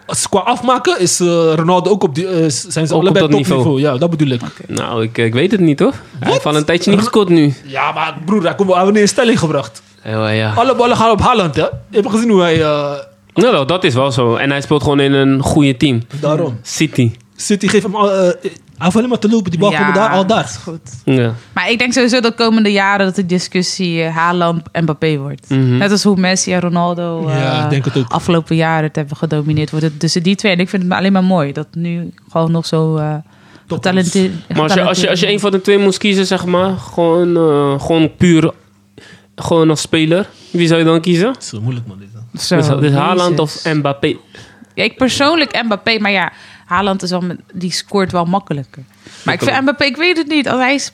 Speaker 3: als- qua afmaken is eh, Ronaldo ook op die, eh, zijn ze
Speaker 2: Ook op
Speaker 3: allebei
Speaker 2: dat
Speaker 3: topniveau.
Speaker 2: niveau.
Speaker 3: Ja, dat bedoel ik.
Speaker 2: Nou, ik, ik weet het niet, hoor. Hij heeft al een tijdje niet gescoord nu.
Speaker 3: Ja, maar broer, hij komt wel hij heeft een stelling gebracht.
Speaker 2: Ja, ja.
Speaker 3: Alle ballen gaan op Haaland, hè? Je hebt gezien hoe hij... eh,
Speaker 2: Nou, wel, dat is wel zo. En hij speelt gewoon in een goede team.
Speaker 3: daarom.
Speaker 2: City.
Speaker 3: City geeft hem al... eh, eh, hij hoeft alleen maar te lopen. Die bal
Speaker 4: Ja,
Speaker 3: komt daar al
Speaker 4: dat is
Speaker 3: daar.
Speaker 4: goed.
Speaker 2: Ja.
Speaker 4: Maar ik denk sowieso dat komende jaren dat de discussie eh, Haaland en Mbappé wordt.
Speaker 2: Mhm.
Speaker 4: Net als hoe Messi en Ronaldo eh,
Speaker 3: Ja, ik denk het ook.
Speaker 4: afgelopen jaren het hebben gedomineerd. Wordt het tussen die twee. En ik vind het maar alleen maar mooi dat nu gewoon nog zo eh
Speaker 3: Top.
Speaker 4: getalenteerd...
Speaker 2: Maar als je, als, je, als je een van de twee moest kiezen, zeg maar, gewoon, eh, gewoon puur gewoon als speler, wie zou je dan kiezen?
Speaker 3: Het is zo moeilijk, man. Dit, hè.
Speaker 4: Zo,
Speaker 2: Dus, dus Haaland
Speaker 4: Jezus.
Speaker 2: of Mbappé?
Speaker 4: Ja, ik persoonlijk Mbappé, maar ja, Haaland is wel met- die scoort wel makkelijker. Maar ik vind Mbappé, ik weet het niet. Als hij is-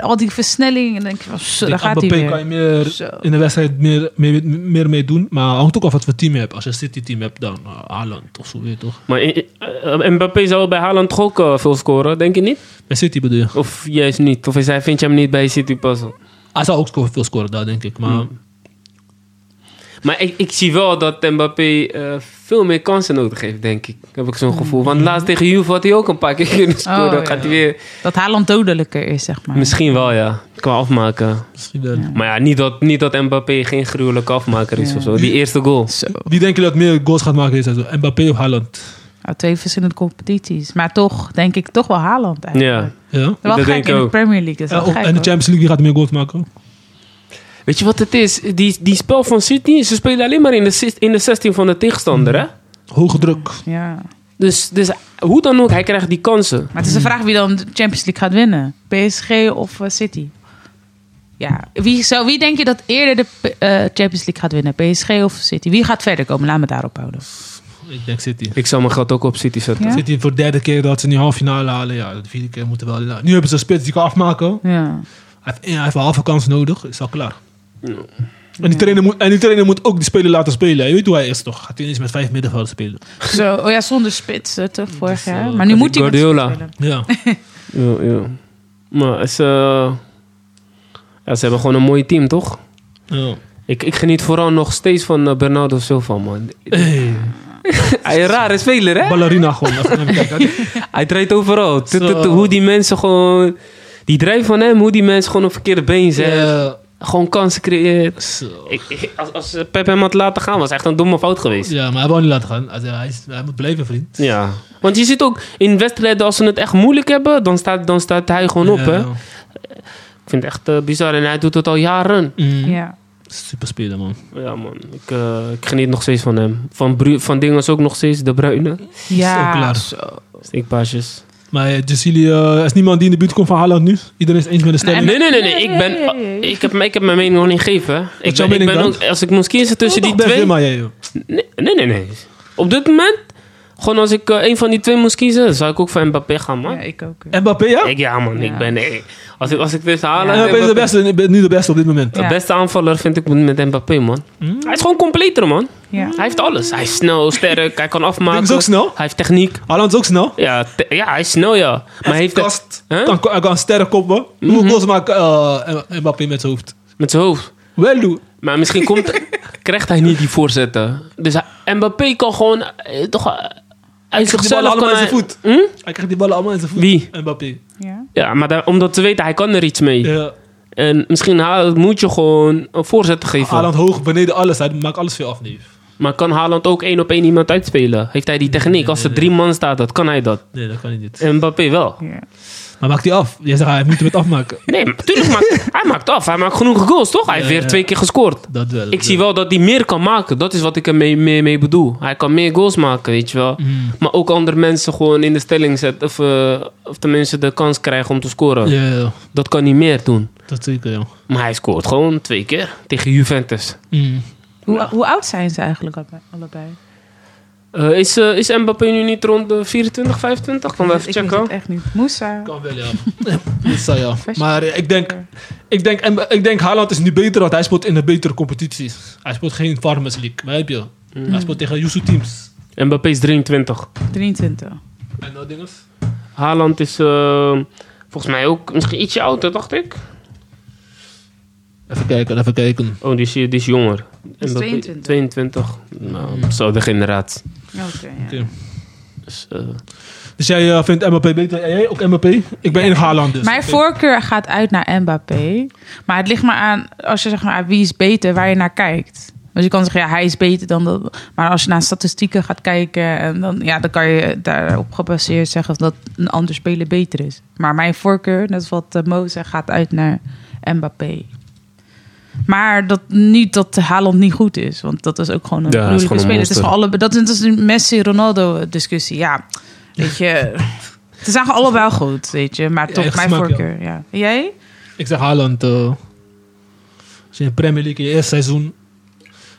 Speaker 4: al die versnelling en dan denk je van, zo, daar
Speaker 3: Tegen
Speaker 4: gaat hij
Speaker 3: Mbappé kan je
Speaker 4: weer.
Speaker 3: meer
Speaker 4: Zo.
Speaker 3: in de wedstrijd meer, meer, meer mee doen. Maar hangt ook af wat voor team je hebt. Als je een City-team hebt, dan eh, Haaland of zo, weet je toch?
Speaker 2: Maar eh, eh, Mbappé zou bij Haaland toch ook eh, veel scoren, denk je niet?
Speaker 3: Bij City bedoel je?
Speaker 2: Of juist niet? Of is hij, vind je hem niet bij City passen?
Speaker 3: Hij zou ook sco- veel scoren daar, denk ik. Maar
Speaker 4: Hmm.
Speaker 2: Maar ik, ik zie wel dat Mbappé eh, veel meer kansen nodig heeft, denk ik. Heb ik zo'n gevoel. Want laatst tegen Juve had hij ook een paar keer kunnen scoren.
Speaker 4: Mm. Oh, ja.
Speaker 2: Gaat hij weer...
Speaker 4: Dat Haaland dodelijker is, zeg maar.
Speaker 2: Misschien wel, ja. Qua afmaken.
Speaker 3: misschien wel.
Speaker 2: Maar ja, niet dat, niet dat Mbappé geen gruwelijke afmaker is
Speaker 4: Ja.
Speaker 2: of zo. Die eerste goal.
Speaker 4: Zo.
Speaker 3: Wie denk je dat meer goals gaat maken? deze seizoen? Mbappé of Haaland?
Speaker 4: Nou, twee verschillende competities. Maar toch, denk ik, toch wel Haaland eigenlijk.
Speaker 2: Ja.
Speaker 3: Ja?
Speaker 4: Wel
Speaker 2: Dat
Speaker 4: gek
Speaker 2: denk ik
Speaker 4: in de
Speaker 2: ook.
Speaker 4: Premier League. dus Dat is
Speaker 3: En,
Speaker 4: wel
Speaker 3: ook-
Speaker 4: gek,
Speaker 3: en de
Speaker 4: hoor.
Speaker 3: Champions League, wie gaat meer goals maken?
Speaker 2: Weet je wat het is? Die, die spel van City, ze spelen alleen maar in de, zes- in de 16 van de tegenstander, hè?
Speaker 3: Hoge druk.
Speaker 4: Ja.
Speaker 2: Dus, dus hoe dan ook, hij krijgt die kansen.
Speaker 4: Maar het is de vraag wie dan de Champions League gaat winnen. PSG of eh, City? Ja. Wie, zou, wie denk je dat eerder de P- eh, Champions League gaat winnen? PSG of City? Wie gaat verder komen? Laat me daarop houden.
Speaker 3: Ik denk City.
Speaker 2: Ik zou mijn geld ook op City zetten.
Speaker 4: Ja?
Speaker 3: City voor de derde keer dat ze in die halve finale halen. Ja, de vierde keer moeten wel. Nou, Nu hebben ze een spits die kan afmaken.
Speaker 4: Ja.
Speaker 3: Hij heeft, hij heeft een halve kans nodig. Is al klaar. En, die trainer moet, en die trainer moet ook die speler laten spelen. Je weet hoe hij is toch? Gaat hij eens met vijf middenvelders spelen?
Speaker 4: Zo, oh ja, zonder spits, hè, toch, vorig
Speaker 2: eh,
Speaker 4: jaar. maar nu moet hij met
Speaker 2: Guardiola.
Speaker 4: spits spelen.
Speaker 3: Ja.
Speaker 2: Ja, ja. Maar ze, ja, ze hebben gewoon een mooi team, toch?
Speaker 3: ja.
Speaker 2: Ik, ik geniet vooral nog steeds van eh, Bernardo Silva, man.
Speaker 3: Hey,
Speaker 2: Hij is een rare speler, hè?
Speaker 3: ballerina gewoon. Even naar hem kijken.
Speaker 2: Hij draait overal. Tut, tut, tut,
Speaker 3: Zo.
Speaker 2: Hoe die mensen gewoon... Die drijf van hem, hoe die mensen gewoon op verkeerde been
Speaker 3: eh,
Speaker 2: zijn.
Speaker 3: Ja,
Speaker 2: Gewoon kansen creëert.
Speaker 3: zo.
Speaker 2: Ik, ik- als, als Pep hem had laten gaan, was het echt een domme fout geweest.
Speaker 3: Ja, maar hij wil niet laten gaan. Hij, hij, is- hij moet blijven, vriend.
Speaker 2: Ja. Want je ziet ook in wedstrijden, als ze het echt moeilijk hebben, dan staat, dan staat hij gewoon op. Hè?
Speaker 3: Ja.
Speaker 2: Ik vind het echt eh, bizar en hij doet het al jaren.
Speaker 3: Mm.
Speaker 4: Ja.
Speaker 3: Super speler, man.
Speaker 2: Ja, man. Ik, eh, ik geniet nog steeds van hem. Van, Bru van Dingens ook nog steeds, de bruine.
Speaker 3: Zo
Speaker 4: Ja.
Speaker 3: klaar.
Speaker 4: Zo.
Speaker 2: Steekpaasjes.
Speaker 3: Maar eh, Jacili, eh, er is niemand die in de buurt komt van Haaland nu. Iedereen is eens met de stelling.
Speaker 2: Nee, nee, nee, nee. Ik, ben, ah, ik, heb, ik heb mijn mening nog niet gegeven. hè. Ik
Speaker 3: jouw
Speaker 2: ben, ik
Speaker 3: mening
Speaker 2: ben
Speaker 3: dan?
Speaker 2: ook, als ik moest kiezen tussen die
Speaker 3: Dag,
Speaker 2: twee.
Speaker 3: Benzema, jij, joh.
Speaker 2: Nee, nee, nee, nee. Op dit moment, gewoon als ik eh, een van die twee moest kiezen, zou ik ook voor Mbappé gaan, man.
Speaker 4: Ja, ik ook. eh.
Speaker 2: Eh.
Speaker 4: ja.
Speaker 3: Mbappé, ja?
Speaker 2: Ik, ja, man. Ik
Speaker 4: Ja.
Speaker 2: ben. eh, als, ik, als ik dit halen.
Speaker 3: Mbappé is de beste, ik ben nu de beste op dit moment.
Speaker 2: De
Speaker 4: Ja.
Speaker 2: beste aanvaller vind ik met Mbappé, man.
Speaker 3: Mm.
Speaker 2: Hij is gewoon completer, man.
Speaker 4: Ja.
Speaker 2: Hij heeft alles. Hij is snel, sterk, hij kan afmaken.
Speaker 3: Denk is ook snel.
Speaker 2: Hij heeft techniek.
Speaker 3: Haaland is ook snel.
Speaker 2: Ja, te- ja hij is snel, ja. Maar hij heeft het-
Speaker 3: Kast.
Speaker 2: Huh? Mhm.
Speaker 3: Kan, hij kan sterren koppen. Hoe goals maakt eh, Mbappé met zijn hoofd?
Speaker 2: met zijn hoofd.
Speaker 3: Wel doen.
Speaker 2: Maar misschien komt, krijgt hij niet die voorzetten. Dus hij- Mbappé kan gewoon... eh, toch, eh, uit
Speaker 3: krijgt die ballen
Speaker 2: zichzelf kan
Speaker 3: allemaal in
Speaker 2: hij...
Speaker 3: zijn voet.
Speaker 2: Hm?
Speaker 3: Hij krijgt die ballen allemaal in zijn voet.
Speaker 2: Wie?
Speaker 3: Mbappé. Eh,
Speaker 4: Ja.
Speaker 2: Ja, maar daar- om dat te weten, hij kan er iets mee.
Speaker 3: Ja.
Speaker 2: En misschien Haaland moet je gewoon een voorzet geven.
Speaker 3: Haaland hoog, beneden alles. Hij maakt alles veel af, neef.
Speaker 2: Maar kan Haaland ook één op één iemand uitspelen? Heeft hij die techniek? Als er drie man staat, dat kan hij dat.
Speaker 3: Nee, dat kan hij niet.
Speaker 2: En Mbappé wel.
Speaker 4: Ja.
Speaker 3: Maar maakt hij af? Jij zegt, hij moet hem het afmaken.
Speaker 2: Nee, maar tuurlijk maakt hij maakt af. Hij maakt genoeg goals, toch? Hij heeft
Speaker 3: Ja,
Speaker 2: weer
Speaker 3: ja.
Speaker 2: twee keer gescoord.
Speaker 3: Dat wel.
Speaker 2: Ik zie wel dat hij meer kan maken. Dat is wat ik ermee mee, mee bedoel. Hij kan meer goals maken, weet je wel.
Speaker 3: Mhm.
Speaker 2: Maar ook andere mensen gewoon in de stelling zetten. Of, eh, of tenminste de kans krijgen om te scoren.
Speaker 3: Ja, ja, ja.
Speaker 2: Dat kan hij meer doen.
Speaker 3: dat zeker, ja.
Speaker 2: Maar hij scoort gewoon twee keer tegen Juventus.
Speaker 3: Mm.
Speaker 4: Hoe, hoe oud zijn ze eigenlijk alle- allebei?
Speaker 2: Eh, is, eh, is Mbappé nu niet rond de 24, 25? Kan we even
Speaker 4: ik weet
Speaker 2: checken?
Speaker 4: het echt niet. Moussa.
Speaker 3: Kan wel, ja. dat zou, ja. Maar Dus, eh, ik denk, ik, denk, en- ik denk, Haaland is nu beter, want hij speelt in een betere competitie. Hij speelt geen Farmers League, begrijp je? Hij speelt tegen Yusu teams.
Speaker 2: Mbappé is 23.
Speaker 4: 23.
Speaker 3: En dat ding is?
Speaker 2: Haaland is eh, volgens mij ook misschien ietsje ouder, dacht ik.
Speaker 3: Even kijken, even kijken.
Speaker 2: Oh, die is, die is jonger.
Speaker 4: is
Speaker 2: Mbappé-
Speaker 4: 22.
Speaker 2: 22.
Speaker 3: Hmm.
Speaker 2: Nou, zo de generatie.
Speaker 4: Oké, ja.
Speaker 3: Oké.
Speaker 2: Dus, eh,
Speaker 3: Dus jij eh, vindt MLP beter? En jij ook MLP? Ik ben in Haaland dus.
Speaker 4: Mijn
Speaker 3: Ik-
Speaker 4: voorkeur gaat uit naar Mbappé. Maar het ligt maar aan, als je zegt maar, wie is beter, waar je naar kijkt. Dus je kan zeggen, ja, hij is beter dan dat. Maar als je naar statistieken gaat kijken, en dan, ja, dan kan je daarop gebaseerd zeggen dat een ander speler beter is. Maar mijn voorkeur, net als wat eh, Mo zegt, gaat uit naar Mbappé. Maar dat, niet dat Haaland niet goed is, want dat is ook gewoon een
Speaker 2: Ja, hij is
Speaker 4: moeilijke
Speaker 2: gewoon een
Speaker 4: speler. Het is
Speaker 2: monster.
Speaker 4: gewoon alle, dat, is, dat is een Messi-Ronaldo-discussie. Ja, weet je. Ze zagen allebei goed, weet je. Maar
Speaker 3: Ja,
Speaker 4: toch,
Speaker 3: echt
Speaker 4: mijn
Speaker 3: smaak, ja.
Speaker 4: voorkeur. Ja. Jij?
Speaker 3: Ik zeg Haaland. eh, als je in de Premier League in je eerste seizoen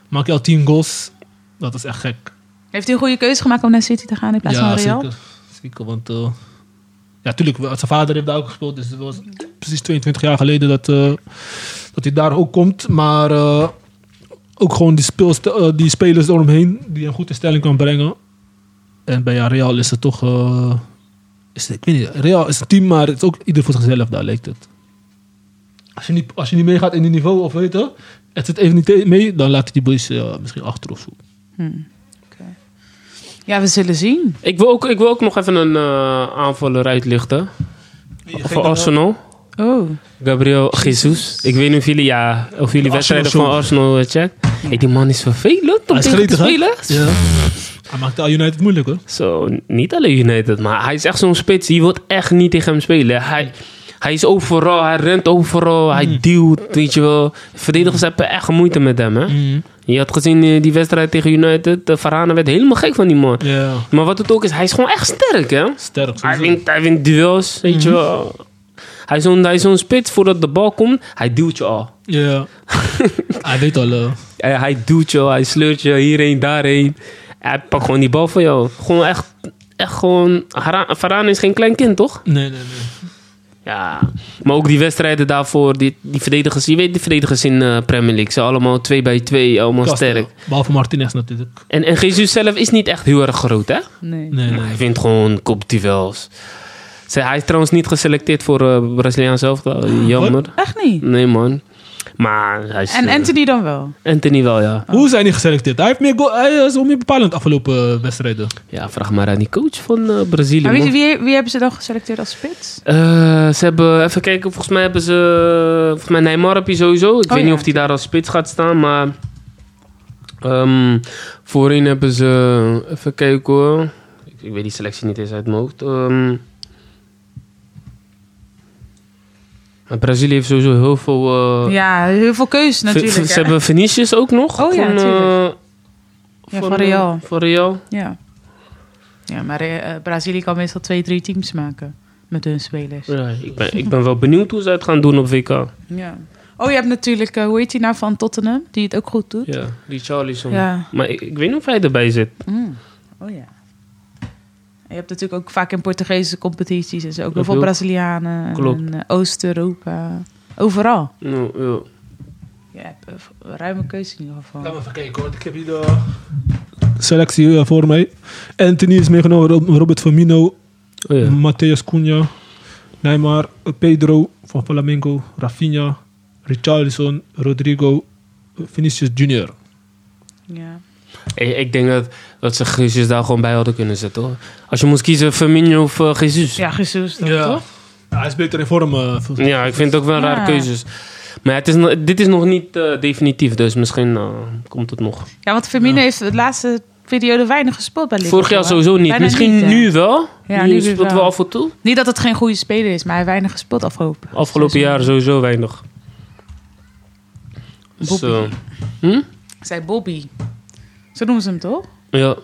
Speaker 3: maak je al 10 goals. Dat is echt gek.
Speaker 4: Heeft hij een goede keuze gemaakt om naar City te gaan in plaats van Real?
Speaker 3: zeker. Zeker, want... eh, ja, tuurlijk, zijn vader heeft daar ook gespeeld. Dus het was precies 22 jaar geleden dat, eh, dat hij daar ook komt. Maar eh, ook gewoon die, speelst- eh, die spelers eromheen die een goede stelling kan brengen. En bij Real is het toch... eh, is het, ik weet niet, Real is een team, maar het is ook ieder voor zichzelf daar, lijkt het. Als je niet, als je niet meegaat in die niveau, of weet je... Het zit even niet mee, dan laat hij die boys eh, misschien achter of zo.
Speaker 4: Ja, we zullen zien.
Speaker 2: Ik wil ook, ik wil ook nog even een eh, aanvaller uitlichten. Voor Arsenal.
Speaker 4: Oh.
Speaker 2: Gabriel Jesus. Ik weet niet of jullie, ja, of jullie wedstrijden van
Speaker 3: show.
Speaker 2: Arsenal eh, checken. Hey, die man is vervelend om
Speaker 3: Hij is
Speaker 2: tegen te
Speaker 3: gretig, hè?
Speaker 2: spelen.
Speaker 3: Ja. Hij maakt al United moeilijk hoor.
Speaker 2: Zo, niet alleen United, maar hij is echt zo'n spits. Je wilt echt niet tegen hem spelen. Hij, hij is overal, hij rent overal, hij duwt, weet je wel. Verdedigers hebben echt moeite met hem,
Speaker 3: Hmm.
Speaker 2: hè.
Speaker 3: Mm.
Speaker 2: Je had gezien eh, die wedstrijd tegen United. De Varane werd helemaal gek van die man.
Speaker 3: Ja,
Speaker 2: Maar wat het ook is, hij is gewoon echt sterk, hè.
Speaker 3: sterk.
Speaker 2: Hij
Speaker 3: sowieso.
Speaker 2: wint, hij wint duels, weet je wel. Hij is zo'n hij is zo'n spits, voordat de bal komt, hij duwt je al.
Speaker 3: Ja. Hij weet al. eh,
Speaker 2: Hij, hij duwt je, hij sleurt je hierheen, daarheen. Hij pakt gewoon die bal van jou. Gewoon echt, echt gewoon... Hara- Varane is geen klein kind, toch?
Speaker 3: nee, nee, nee.
Speaker 2: Ja. Maar ook die wedstrijden daarvoor, die, die verdedigers... Je weet die verdedigers in eh Premier League. Ze allemaal twee bij twee, allemaal
Speaker 3: Kast,
Speaker 2: sterk.
Speaker 3: eh, Behalve Martinez natuurlijk.
Speaker 2: En, en Jesus zelf is niet echt heel erg groot, hè?
Speaker 4: Nee.
Speaker 3: Nee,
Speaker 2: Maar
Speaker 3: nee.
Speaker 2: hij vindt gewoon kopduels. Ze- Hij is trouwens niet geselecteerd voor eh Braziliaans elftal. Jammer.
Speaker 4: Echt niet.
Speaker 2: Nee, man. Maar hij is...
Speaker 4: En
Speaker 2: eh,
Speaker 4: Anthony dan wel.
Speaker 2: Anthony wel, ja.
Speaker 3: Hoe zijn die geselecteerd? Hij, heeft meer goal, hij is wel meer bepalend afgelopen eh, wedstrijden.
Speaker 2: Ja, vraag maar aan die coach van eh, Brazilië.
Speaker 4: Maar wie,
Speaker 2: man.
Speaker 4: wie, wie hebben ze dan geselecteerd als spits?
Speaker 2: Eh, ze hebben, even kijken, volgens mij hebben ze. Volgens mij Neymar heb je sowieso. Ik
Speaker 4: Oh,
Speaker 2: weet
Speaker 4: ja.
Speaker 2: niet of hij daar als spits gaat staan, maar. ehm, voorin hebben ze. Even kijken hoor. Ik, ik weet die selectie niet eens uit mijn hoofd. Ehm, maar Brazilië heeft sowieso heel veel. eh,
Speaker 4: ja, heel veel keuze
Speaker 2: ve- ve-
Speaker 4: natuurlijk.
Speaker 2: ze
Speaker 4: hè.
Speaker 2: hebben Vinicius ook nog.
Speaker 4: Oh ja,
Speaker 2: van, eh,
Speaker 4: tuurlijk. Ja, van
Speaker 2: eh,
Speaker 4: Real.
Speaker 2: Van Real.
Speaker 4: Ja. ja, maar eh, eh, Brazilië kan meestal twee, drie teams maken met hun spelers.
Speaker 2: Ja, ik, ben, ik ben wel benieuwd hoe ze het gaan doen op WK.
Speaker 4: Ja. Oh, je hebt natuurlijk, eh, hoe heet die nou van Tottenham? Die het ook goed doet.
Speaker 2: Ja, die Charlison.
Speaker 4: Ja.
Speaker 2: Maar ik, ik weet niet of hij erbij zit.
Speaker 4: Mm. Oh ja. En Je hebt natuurlijk ook vaak in Portugese competities en zo. Ook heel
Speaker 2: Klopt,
Speaker 4: veel
Speaker 2: joh.
Speaker 4: Brazilianen
Speaker 2: Klopt.
Speaker 4: en eh, Oost-Europa. Overal.
Speaker 2: Nou, ja.
Speaker 4: Je hebt eh, ruime keuze in ieder geval.
Speaker 3: Laten we even kijken hoor. Ik heb hier eh, de selectie eh, voor mij. Anthony is meegenomen. Rob- Robert Firmino.
Speaker 2: Oh, ja.
Speaker 3: Matheus Cunha. Neymar. eh, Pedro van Flamengo. Rafinha. Richarlison. Rodrigo. eh, Vinicius Junior.
Speaker 4: Ja.
Speaker 2: Ik, ik denk dat, dat ze Jesus daar gewoon bij hadden kunnen zetten hoor. Als je moest kiezen Firmino of eh, Jesus. Ja.
Speaker 4: Ja, Jesus dan,
Speaker 3: Ja.
Speaker 4: toch?
Speaker 3: Ja, Hij is beter in vorm. eh, volgens mij.
Speaker 2: ik vind het ook wel
Speaker 4: Ja.
Speaker 2: raar keuzes. Maar het is, nog- dit is nog niet eh, definitief, dus misschien eh, komt het nog.
Speaker 4: Ja, want Firmino heeft de laatste periode weinig gespeeld bij Liverpool.
Speaker 2: Vorig jaar
Speaker 4: hè?
Speaker 2: sowieso niet.
Speaker 4: Bijna
Speaker 2: misschien
Speaker 4: hè?
Speaker 2: nu wel.
Speaker 4: Ja,
Speaker 2: nu
Speaker 4: nu
Speaker 2: speelt
Speaker 4: wel.
Speaker 2: wel af en toe.
Speaker 4: Niet dat het geen goede speler is, maar hij heeft weinig gespeeld afgelopen.
Speaker 2: Afgelopen
Speaker 4: seizoen.
Speaker 2: jaar sowieso weinig. Dus,
Speaker 4: Bobby.
Speaker 2: eh, hm?
Speaker 4: Zij Bobby. Zo noemen ze hem toch?
Speaker 2: Ja.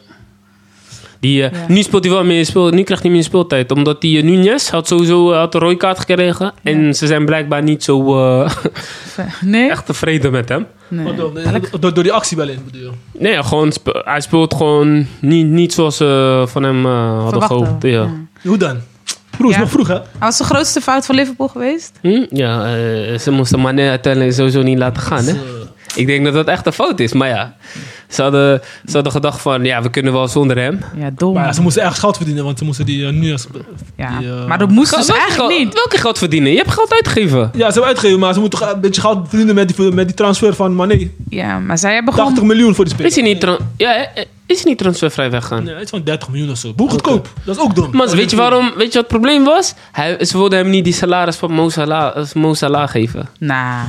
Speaker 2: Die, eh,
Speaker 4: Ja.
Speaker 2: Nu speelt hij wel meer speel, nu krijgt hij meer speeltijd. Omdat die nu Nunes had sowieso eh, had een rooikaart gekregen. En ze zijn blijkbaar niet zo eh,
Speaker 4: Nee.
Speaker 2: echt tevreden met hem.
Speaker 4: nee.
Speaker 3: Oh, door- door- Door die actie wel in, bedoel je?
Speaker 2: Nee, ja, gewoon spe- hij speelt gewoon niet, niet zoals ze van hem eh, hadden
Speaker 4: Verwachten we.
Speaker 2: gehoopt. Ja,
Speaker 4: Ja.
Speaker 3: Hoe dan? Broer, is
Speaker 4: Ja.
Speaker 3: nog vroeg hè?
Speaker 4: Hij was de grootste fout van Liverpool geweest.
Speaker 2: Hm? ja eh, ze moesten Mané uiteindelijk sowieso niet laten gaan. Hè?
Speaker 3: Dus, eh,
Speaker 2: Ik denk dat dat echt een fout is. Maar ja, ze hadden, ze hadden gedacht van ja, we kunnen wel zonder hem.
Speaker 4: Ja, dom.
Speaker 3: maar ja, ze moesten ergens geld verdienen, want ze moesten die eh, nu als...
Speaker 4: Ja.
Speaker 3: die, eh,
Speaker 4: Maar dat moest
Speaker 2: Ga-
Speaker 4: dus
Speaker 2: welke
Speaker 4: eigenlijk
Speaker 2: geld-
Speaker 4: niet.
Speaker 2: Welke geld verdienen? Je hebt geld uitgegeven.
Speaker 3: Ja, ze hebben uitgegeven, maar ze moeten toch een beetje geld verdienen met die, met die transfer van Mané.
Speaker 4: Ja, maar zij hebben gewoon...
Speaker 3: 80 miljoen voor die speler.
Speaker 2: Is hij niet, tran- ja, eh, is hij niet transfervrij weggaan?
Speaker 3: Nee, het is van 30 miljoen of zo. Boek goedkoop. Dat is ook dom.
Speaker 2: Maar weet je, waarom, weet je wat het probleem was? Hij, ze wilden hem niet die salaris van Mo Salah, eh, Mo Salah geven.
Speaker 4: Nou,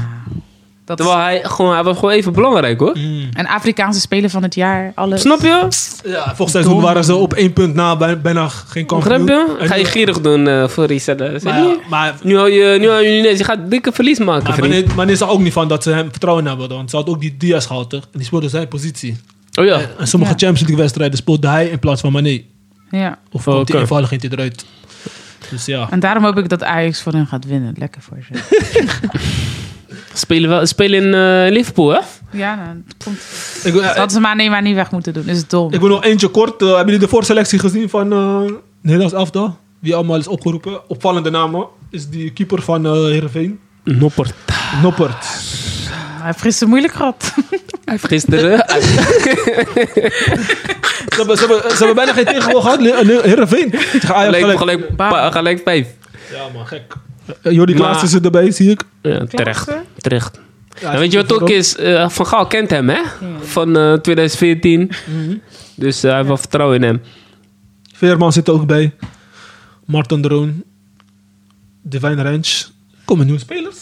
Speaker 4: Dat is
Speaker 2: Terwijl hij, gewoon, hij was gewoon even belangrijk hoor.
Speaker 4: een Afrikaanse speler van het jaar. Alles.
Speaker 2: Snap je?
Speaker 3: Hmm. Ja, volgens seizoen waren ze op één punt na bij- bijna geen kampioen.
Speaker 2: Begrijp je?
Speaker 3: En-
Speaker 2: Ga je gierig doen eh, voor Rizada.
Speaker 3: Maar, ja, maar,
Speaker 2: Nu hou je, nu hou je niet eens. Je gaat dikke verlies maken,
Speaker 3: maar
Speaker 2: vriend.
Speaker 3: wanneer, wanneer is er ook niet van dat ze hem vertrouwen hebben. Want ze had ook die Diaz gehad, toch? En die speelde zijn positie.
Speaker 2: Oh ja.
Speaker 3: En Eh, sommige
Speaker 4: Ja.
Speaker 3: Champions League wedstrijden speelde hij in plaats van Mané.
Speaker 4: Ja.
Speaker 3: Of
Speaker 2: Oh,
Speaker 3: komt die
Speaker 2: oké.
Speaker 3: eenvoudig ging hij eruit. Dus ja.
Speaker 4: En daarom hoop ik dat Ajax voor hen gaat winnen. Lekker voor ze.
Speaker 2: Spelen, wel, spelen in eh, Liverpool, hè?
Speaker 4: ja, nou, dat komt.
Speaker 3: Ik, wil- eh,
Speaker 4: Dat hadden ze maar nee, maar niet weg moeten doen. Is het dom.
Speaker 3: ik wil nog eentje kort. Eh, hebben jullie de voorselectie gezien van eh Nederlands elftal? Wie allemaal is opgeroepen. Opvallende namen is die keeper van eh Heerenveen.
Speaker 2: Noppert.
Speaker 3: Noppert.
Speaker 4: Hij heeft gisteren moeilijk gehad.
Speaker 2: Hij heeft gisteren... eh,
Speaker 3: Ze hebben, ze, hebben, ze hebben bijna geen tegenwoordig gehad. Le- Le- Heerenveen. Tegen Ajax gelijk.
Speaker 2: gelijk, gelijk,
Speaker 4: Bam.
Speaker 2: pa- gelijk vijf.
Speaker 3: Ja man, gek. Eh, Jordi
Speaker 2: Maar-
Speaker 3: Klaassen zit erbij, zie ik.
Speaker 2: Ja, terecht.
Speaker 4: Klasse.
Speaker 2: Terecht.
Speaker 3: Ja,
Speaker 2: en weet je wat ook is? Eh, van Gaal kent hem, hè? Van eh, 2014. Dus eh, hij heeft wel vertrouwen in hem.
Speaker 3: Veerman zit er ook bij. Martin Droon. Divine Ranch. Komen nieuwe spelers.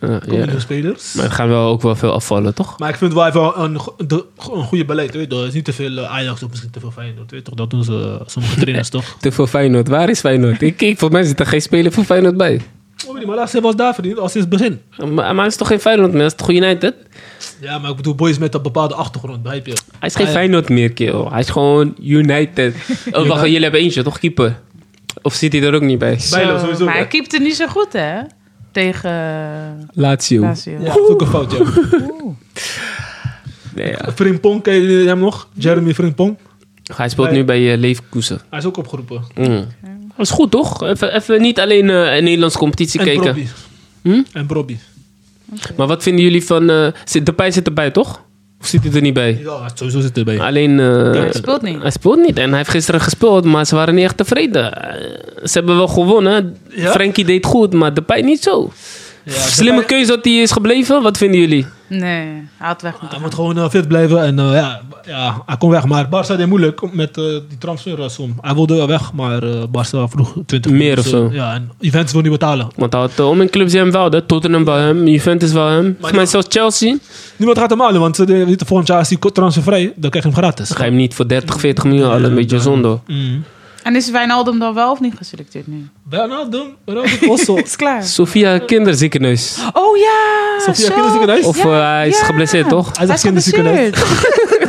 Speaker 2: Ja,
Speaker 3: Komen
Speaker 2: ja.
Speaker 3: nieuwe spelers.
Speaker 2: Maar er gaan wel ook wel veel afvallen, toch?
Speaker 3: Maar ik vind wel even een, go- de- go- een goede beleid. Weet je. toch. Het is niet te veel eh, Ajax of misschien te veel Feyenoord. Weet je. toch. Dat doen ze, eh, sommige trainers toch.
Speaker 2: Te veel Feyenoord. Waar is Feyenoord? Ik kijk, voor mij zit er geen speler voor Feyenoord bij.
Speaker 3: Oh, maar laatst was daar verdiend als sinds het begin.
Speaker 2: Maar, maar hij is toch geen Feyenoord meer? Hij is toch United?
Speaker 3: Ja, maar ik bedoel boys met een bepaalde achtergrond. Begrijp je?
Speaker 2: Hij is geen
Speaker 3: Ah, ja.
Speaker 2: Feyenoord meer, kerel. Hij is gewoon United. Oh, wacht, jullie hebben eentje, toch? Keeper. Of zit hij er ook niet bij?
Speaker 3: Bijlo sowieso.
Speaker 4: maar
Speaker 3: ja.
Speaker 4: hij keepte niet zo goed, hè? Tegen eh,
Speaker 2: Lazio.
Speaker 4: Lazio.
Speaker 3: Ja, dat is ook een fout, ja.
Speaker 2: Nee, ja.
Speaker 3: Frimpong, ken je hem nog? Jeremy Frimpong.
Speaker 2: Hij speelt
Speaker 3: Bij-
Speaker 2: nu bij eh, Leverkusen.
Speaker 3: Hij is ook opgeroepen.
Speaker 2: Mm. Dat is goed, toch? Even, even niet alleen eh, een Nederlandse competitie
Speaker 3: En
Speaker 2: kijken.
Speaker 3: Brobby.
Speaker 2: Hm?
Speaker 3: En Brobby.
Speaker 2: Maar wat vinden jullie van... eh zit, Depay zit erbij, toch? Of zit hij er niet bij?
Speaker 3: Ja, sowieso zit erbij.
Speaker 2: Alleen... eh,
Speaker 4: hij speelt niet.
Speaker 2: Hij speelt niet. En hij heeft gisteren gespeeld, maar ze waren niet echt tevreden. Eh, ze hebben wel gewonnen.
Speaker 3: Ja?
Speaker 2: Frenkie deed goed, maar Depay niet zo. Slimme keuze dat hij is gebleven. Wat vinden jullie?
Speaker 4: Nee, hij had weg moeten
Speaker 3: Hij moet gewoon eh, fit blijven en eh, ja, ja, hij kon weg. Maar Barça deed moeilijk met eh, die transfersom. Hij wilde wel weg, maar eh Barça vroeg 20
Speaker 2: Meer of
Speaker 3: miljoen,
Speaker 2: zo.
Speaker 3: Ja, en Juventus wil niet betalen.
Speaker 2: Want hij had eh, om een club zijn hem wel, hè? Tottenham wel hem, Juventus wel hem. Volgens mij
Speaker 3: die-
Speaker 2: zelfs Chelsea.
Speaker 3: Niemand gaat hem halen, want eh, ze weten volgend jaar is die transfervrij. Dan krijg je hem gratis.
Speaker 2: Dan ga je hem niet voor 30, 40 miljoen halen. Een beetje zonde. hoor.
Speaker 3: Mm.
Speaker 4: En is Wijnaldum dan wel of niet geselecteerd nu?
Speaker 3: Wijnaldum, Ronaldo, Osso.
Speaker 4: Het is klaar.
Speaker 2: Sofia Kinderziekenhuis.
Speaker 4: Oh ja!
Speaker 3: Sofia
Speaker 4: zo.
Speaker 3: Kinderziekenhuis?
Speaker 2: Of
Speaker 4: Ja,
Speaker 2: eh, hij is
Speaker 4: ja.
Speaker 2: geblesseerd, toch?
Speaker 3: Hij is kinderziekenhuis.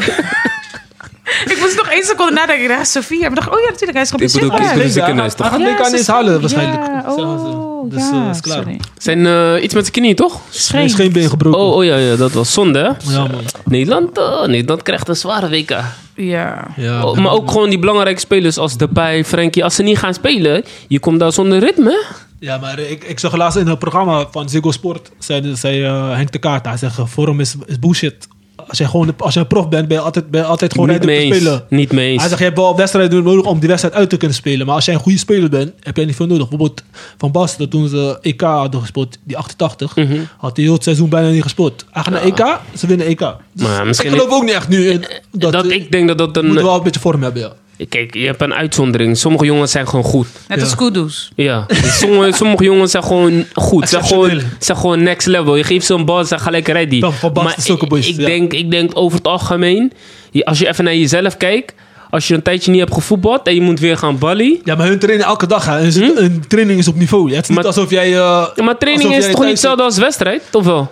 Speaker 4: geblesseerd. ik moest nog één seconde nadenken. Ik dacht, Sofia. Maar ik dacht, oh ja, natuurlijk, hij is geblesseerd.
Speaker 2: bedoel,
Speaker 4: Ja.
Speaker 3: dus
Speaker 2: Kinderziekenhuis.
Speaker 3: Hij gaat
Speaker 4: Ja,
Speaker 3: Leka
Speaker 4: ze-
Speaker 3: ineens halen waarschijnlijk.
Speaker 4: Ja,
Speaker 3: zeggen ze.
Speaker 4: oh,
Speaker 3: Dus
Speaker 4: ja,
Speaker 3: eh, is klaar. Dus
Speaker 4: sorry.
Speaker 2: Zijn eh, iets met zijn knie, toch?
Speaker 3: Er is geen been gebroken.
Speaker 2: Oh, oh ja, ja, dat was zonde, hè?
Speaker 3: Ja, man.
Speaker 2: Nederland, eh, Nederland krijgt een zware WK.
Speaker 4: Ja.
Speaker 3: Ja,
Speaker 2: Oh, maar ook gewoon die belangrijke spelers als Depay, Frenkie. Als ze niet gaan spelen, je komt daar zonder ritme.
Speaker 3: Ja, maar ik, ik zag laatst in een programma van Ziggo Sport, zei, zei eh, Henk de Kaart, hij zegt, forum is, is bullshit. Als jij, gewoon, als jij prof bent, ben je altijd, ben je altijd gewoon
Speaker 2: Niet
Speaker 3: ready om
Speaker 2: mee
Speaker 3: te
Speaker 2: eens.
Speaker 3: spelen.
Speaker 2: Niet mee
Speaker 3: Hij
Speaker 2: eens.
Speaker 3: zegt, je hebt wel wedstrijden nodig om die wedstrijd uit te kunnen spelen. Maar als jij een goede speler bent, heb jij niet veel nodig. Bijvoorbeeld Van Basten, toen ze EK hadden gespeeld, die 88,
Speaker 2: Mhm.
Speaker 3: had hij heel het seizoen bijna niet gespeeld. Hij gaat naar EK, ze winnen EK. Dus
Speaker 2: Maar misschien- Eh,
Speaker 3: ik geloof ook niet echt nu in dat,
Speaker 2: Dat, ik denk dat dat
Speaker 3: moet
Speaker 2: een... eh,
Speaker 3: wel een beetje vorm hebben, ja.
Speaker 2: Kijk, je hebt een uitzondering. Sommige jongens zijn gewoon goed.
Speaker 4: Net
Speaker 3: Ja.
Speaker 4: als Kudus.
Speaker 2: Ja, Dus sommige, sommige jongens zijn gewoon goed. Zijn gewoon,
Speaker 3: Exceptioneel.
Speaker 2: zijn gewoon next level. Je geeft ze een bal, ze zijn gelijk ready.
Speaker 3: Van- van Basten
Speaker 2: maar
Speaker 3: is ook een
Speaker 2: ik-
Speaker 3: beest,
Speaker 2: ik,
Speaker 3: ja.
Speaker 2: denk, ik denk over het algemeen, je- als je even naar jezelf kijkt. Als je een tijdje niet hebt gevoetbald en je moet weer gaan ballen.
Speaker 3: Ja, maar hun trainen elke dag. Hè. Hun, hun training is op niveau. hè. Het is niet
Speaker 2: Hm? Maar-
Speaker 3: alsof jij... eh,
Speaker 2: Maar training
Speaker 3: alsof
Speaker 2: is
Speaker 3: jij
Speaker 2: toch niet
Speaker 3: thuis zit-
Speaker 2: hetzelfde als wedstrijd, toch wel?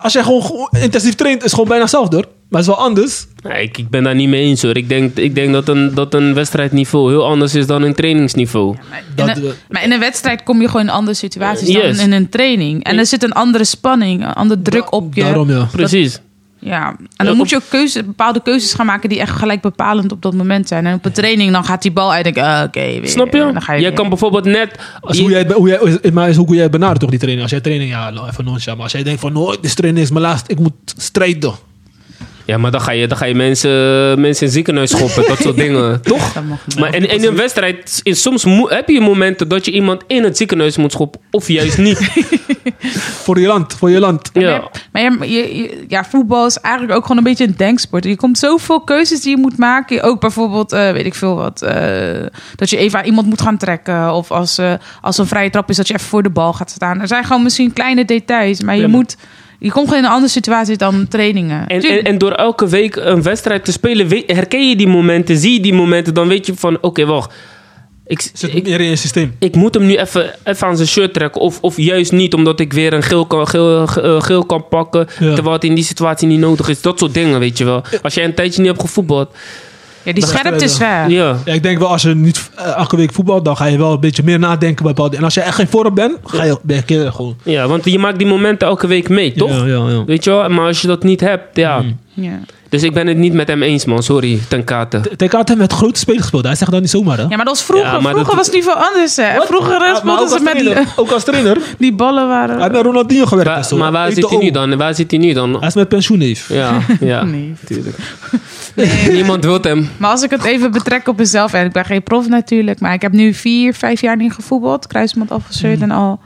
Speaker 3: Als jij gewoon go- intensief traint, is gewoon bijna hetzelfde hoor. Maar het is wel anders.
Speaker 2: Nee, ik, ik ben daar niet mee eens hoor. Ik denk, ik denk dat, een, dat een wedstrijdniveau heel anders is dan een trainingsniveau.
Speaker 4: Maar in,
Speaker 3: Dat,
Speaker 4: een,
Speaker 3: eh,
Speaker 4: maar in een wedstrijd kom je gewoon in andere situaties
Speaker 2: Yes.
Speaker 4: dan in een training. En er zit een andere spanning, een andere druk op je.
Speaker 3: Daarom ja.
Speaker 2: Precies.
Speaker 4: Ja, en dan moet je ook keuze, bepaalde keuzes gaan maken die echt gelijk bepalend op dat moment zijn. En op een training dan gaat die bal uit en denk ik, ah, oké, weer.
Speaker 2: Snap je?
Speaker 4: Dan ga je
Speaker 2: jij
Speaker 4: weer.
Speaker 2: kan bijvoorbeeld net...
Speaker 3: Als
Speaker 2: je-
Speaker 3: hoe jij, het be- hoe jij, is- maar is ook hoe jij het benadert toch die training. Als jij training, ja, nou, even nonchalant. Maar als jij denkt van, nooit, dit training is mijn laatste. Ik moet strijden.
Speaker 2: Ja, maar dan ga je, dan ga je mensen, mensen in ziekenhuis schoppen. dat soort dingen. Toch?
Speaker 4: Dat mag niet.
Speaker 2: Maar in, in een wedstrijd, in, soms mo- heb je momenten dat je iemand in het ziekenhuis moet schoppen. Of juist niet.
Speaker 3: Voor je land, voor je land.
Speaker 4: Maar je
Speaker 2: ja.
Speaker 4: hebt- Maar je- je- je- ja, voetbal is eigenlijk ook gewoon een beetje een denksport. Je komt zoveel keuzes die je moet maken. Ook bijvoorbeeld, eh, weet ik veel wat, eh, dat je even aan iemand moet gaan trekken. Of als, eh, als een vrije trap is, dat je even voor de bal gaat staan. Er zijn gewoon misschien kleine details, maar je
Speaker 3: Ja, maar-
Speaker 4: moet... Je komt gewoon in een andere situatie dan trainingen.
Speaker 2: En, en, en door elke week een wedstrijd te spelen, weet- herken je die momenten, zie je die momenten, dan weet je van, oké, wacht. Ik,
Speaker 3: Zit
Speaker 2: ik,
Speaker 3: meer in je systeem.
Speaker 2: ik moet hem nu even, even aan zijn shirt trekken. Of, of juist niet, omdat ik weer een geel kan, geel, eh, geel kan pakken.
Speaker 3: Ja.
Speaker 2: Terwijl het in die situatie niet nodig is. Dat soort dingen, weet je wel. Als jij een tijdje niet hebt gevoetbald.
Speaker 4: Ja, die
Speaker 3: Dat is
Speaker 4: scherpte is
Speaker 3: wel-
Speaker 4: weg.
Speaker 2: Ja.
Speaker 3: Ja, ik denk wel, als je niet eh, elke week voetbalt, dan ga je wel een beetje meer nadenken bij bepaalde. En als je echt geen vorm bent, ga je, ben je keer gewoon.
Speaker 2: ja, want je maakt die momenten elke week mee, toch?
Speaker 3: Ja, Hmm. ja, ja.
Speaker 2: Weet je wel? Maar als je dat niet hebt, ja.
Speaker 4: Ja.
Speaker 2: Dus ik ben het niet met hem eens, man. Sorry, ten kate.
Speaker 3: TK had hem met grote spelers gespeeld. Hij zegt dat niet zomaar, hè?
Speaker 4: ja, maar dat was vroeger.
Speaker 2: Ja, maar
Speaker 4: vroeger
Speaker 2: dat-
Speaker 4: was het niet veel anders. Hè. Vroeger
Speaker 3: Ja, maar
Speaker 4: speelden
Speaker 3: ook
Speaker 4: ze
Speaker 3: als
Speaker 4: met
Speaker 3: trainer.
Speaker 4: die,
Speaker 3: Ook als trainer.
Speaker 4: die ballen
Speaker 3: Hij heeft
Speaker 4: waren...
Speaker 3: met Ronaldinho gewerkt. en
Speaker 2: Wa-
Speaker 3: zo.
Speaker 2: maar waar
Speaker 3: Ik
Speaker 2: zit
Speaker 3: de
Speaker 2: hij nu
Speaker 3: oom.
Speaker 2: dan? Waar zit hij nu
Speaker 3: Hij
Speaker 2: dan?
Speaker 3: is met pensioen, neef.
Speaker 2: Ja, ja.
Speaker 4: Nee.
Speaker 2: Niemand wil hem.
Speaker 4: Maar als ik het even betrek op mezelf, en ik ben geen prof natuurlijk, maar ik heb nu vier, vijf jaar niet gevoetbald, kruisband afgescheurd
Speaker 3: Mhm.
Speaker 4: en al.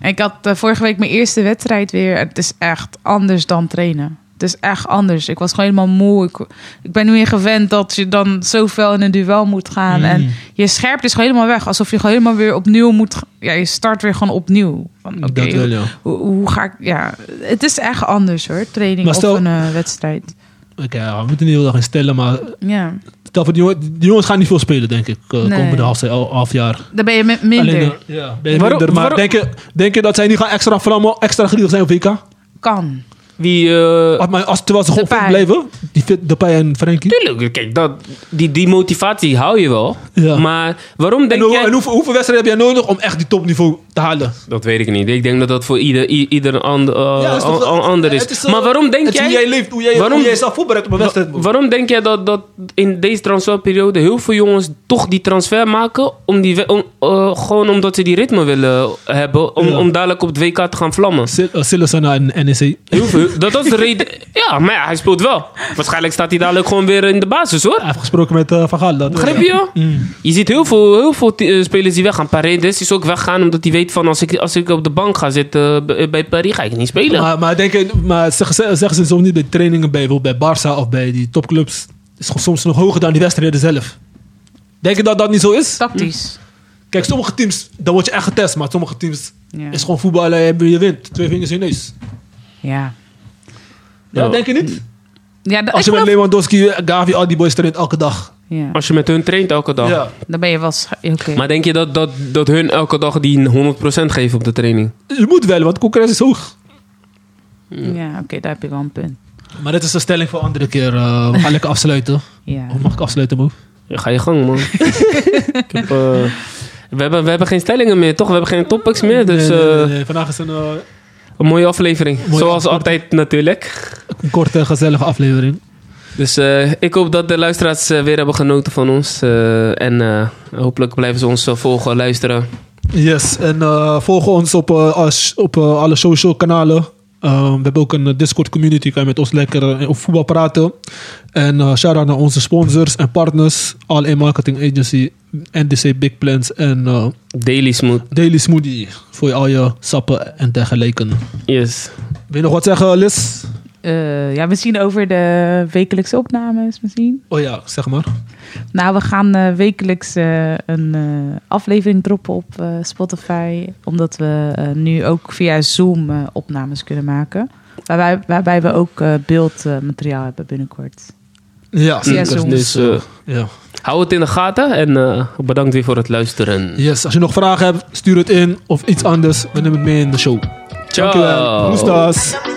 Speaker 4: En ik had eh, vorige week mijn eerste wedstrijd weer. Het is echt anders dan trainen. Het is echt anders. Ik was gewoon helemaal moe. Ik, ik ben nu weer gewend dat je dan zoveel in een duel moet gaan.
Speaker 3: Mm.
Speaker 4: En je scherpt is gewoon helemaal weg. Alsof je gewoon helemaal weer opnieuw moet... g- Ja, je start weer gewoon opnieuw. Van, oké,
Speaker 3: Dat wel, ja.
Speaker 4: hoe, hoe ga ik... Ja, het is echt anders hoor, training
Speaker 3: Maar stel-
Speaker 4: of een eh, wedstrijd.
Speaker 3: Oké, ja, eh, we moeten niet heel erg in stellen, maar
Speaker 4: Ja,
Speaker 3: stel voor die, jongen- die jongens gaan niet veel spelen, denk ik, eh,
Speaker 4: Nee.
Speaker 3: komende half, half, jaar.
Speaker 4: daar ben je met minder.
Speaker 3: Alleen, eh, ja, ben je
Speaker 2: Waarom-
Speaker 3: minder, maar
Speaker 2: waarom-
Speaker 3: denk je, denk je dat zij nu gaan extra vlammen, extra grillig zijn op WK?
Speaker 4: Kan.
Speaker 2: Wie. eh,
Speaker 3: Als- maar als, terwijl ze gewoon fit
Speaker 4: Depay.
Speaker 3: blijven, die fit, Depay en Frenkie.
Speaker 2: Tuurlijk, kijk, dat, die, die motivatie hou je wel.
Speaker 3: Ja.
Speaker 2: Maar waarom
Speaker 3: En
Speaker 2: denk
Speaker 3: hoe-
Speaker 2: jij...
Speaker 3: en hoeveel, hoeveel wedstrijden heb jij nodig om echt die topniveau te halen?
Speaker 2: Dat weet ik niet. Ik denk dat dat voor ieder, i- ieder ander, eh,
Speaker 3: Ja, dat is toch-
Speaker 2: an- ander is.
Speaker 3: het is, eh,
Speaker 2: maar waarom denk
Speaker 3: het is
Speaker 2: jij...
Speaker 3: Hoe jij leeft, hoe jij,
Speaker 2: waarom-
Speaker 3: hoe jij jezelf voorbereidt op een
Speaker 2: wa-
Speaker 3: wedstrijd.
Speaker 2: waarom denk jij dat, dat in deze transferperiode heel veel jongens toch die transfer maken? Om die, we- om, eh, gewoon omdat ze die ritme willen hebben. Om,
Speaker 3: Ja.
Speaker 2: om dadelijk op het WK te gaan vlammen.
Speaker 3: Sil- eh, Sillisana en NEC.
Speaker 2: Heel veel. Dat was de reden. Ja, maar ja, hij speelt wel. Waarschijnlijk staat hij dadelijk gewoon weer in de basis hoor.
Speaker 3: Hij heeft gesproken met eh Van Gaal. dat-
Speaker 2: Begrijp je? joh?
Speaker 3: Mm.
Speaker 2: Je ziet heel veel, heel veel t- eh, spelers die weggaan. Paredes is ook weggaan omdat hij weet van als ik, als ik op de bank ga zitten eh, bij Paris ga ik niet spelen.
Speaker 3: Maar, maar, denk je, maar zeggen, ze- zeggen ze soms niet bij trainingen bij, bijvoorbeeld bij Barça of bij die topclubs, is gewoon soms nog hoger dan die wedstrijden zelf. Denk je dat dat niet zo is?
Speaker 4: Tactisch.
Speaker 3: Kijk, sommige teams, dan word je echt getest, maar sommige teams
Speaker 4: Ja.
Speaker 3: Hm. is gewoon voetballen en je wint. Twee vingers in je neus.
Speaker 4: Ja.
Speaker 3: Ja,
Speaker 2: Ja.
Speaker 3: denk je niet?
Speaker 4: Ja,
Speaker 3: Als je
Speaker 4: da- ik
Speaker 3: met
Speaker 4: geloof-
Speaker 3: Lewandowski, Gavi, al die boys traint elke dag.
Speaker 4: ja,
Speaker 2: Als je met hun traint elke dag.
Speaker 3: Ja.
Speaker 4: dan ben je wel scha- Oké.
Speaker 2: Maar denk je dat, dat, dat hun elke dag die 100% geven op de training?
Speaker 3: Je moet wel, want de concurrentie is hoog.
Speaker 4: Ja, oké, daar heb je wel een punt.
Speaker 3: Maar dit is een stelling voor een andere keer. eh, we gaan lekker afsluiten.
Speaker 4: Ja.
Speaker 3: Of mag ik afsluiten, Mo?
Speaker 2: Ja, ga je gang man. ik heb, eh, we, hebben, we hebben geen stellingen meer toch? We hebben geen topics meer. Dus
Speaker 3: Nee, nee, nee,
Speaker 2: eh,
Speaker 3: nee. Vandaag is een, eh,
Speaker 2: een mooie aflevering.
Speaker 3: Mooie
Speaker 2: Zoals altijd natuurlijk.
Speaker 3: een korte, gezellige aflevering.
Speaker 2: Dus eh, ik hoop dat de luisteraars eh, weer hebben genoten van ons. eh, en eh, hopelijk blijven ze ons eh, volgen, luisteren.
Speaker 3: Yes, en eh, volg ons op, eh, als- op eh, alle social kanalen. Ehm, we hebben ook een eh, Discord community, kan je met ons lekker eh, over voetbal praten. En eh shout-out naar onze sponsors en partners. All in Marketing Agency, NDC Big Plans en eh,
Speaker 2: Daily Smooth.
Speaker 3: Daily Smoothie. Voor je al je sappen en dergelijke.
Speaker 2: Yes.
Speaker 3: Wil je nog wat zeggen, Liz?
Speaker 4: Eh, ja, misschien over de wekelijkse opnames misschien.
Speaker 3: Oh ja, zeg maar.
Speaker 4: Nou, we gaan eh, wekelijks eh, een eh, aflevering droppen op eh, Spotify. Omdat we eh, nu ook via Zoom eh, opnames kunnen maken. Waarbij, waarbij we ook eh, beeldmateriaal hebben binnenkort.
Speaker 3: Ja, zeker.
Speaker 4: Zoom.
Speaker 2: Dus eh,
Speaker 3: ja.
Speaker 2: hou het in de gaten en eh, bedankt weer voor het luisteren.
Speaker 3: Yes, als je nog vragen hebt, stuur het in. Of iets anders, we nemen het mee in de show.
Speaker 2: Ciao.
Speaker 3: Dankjewel. Roestas.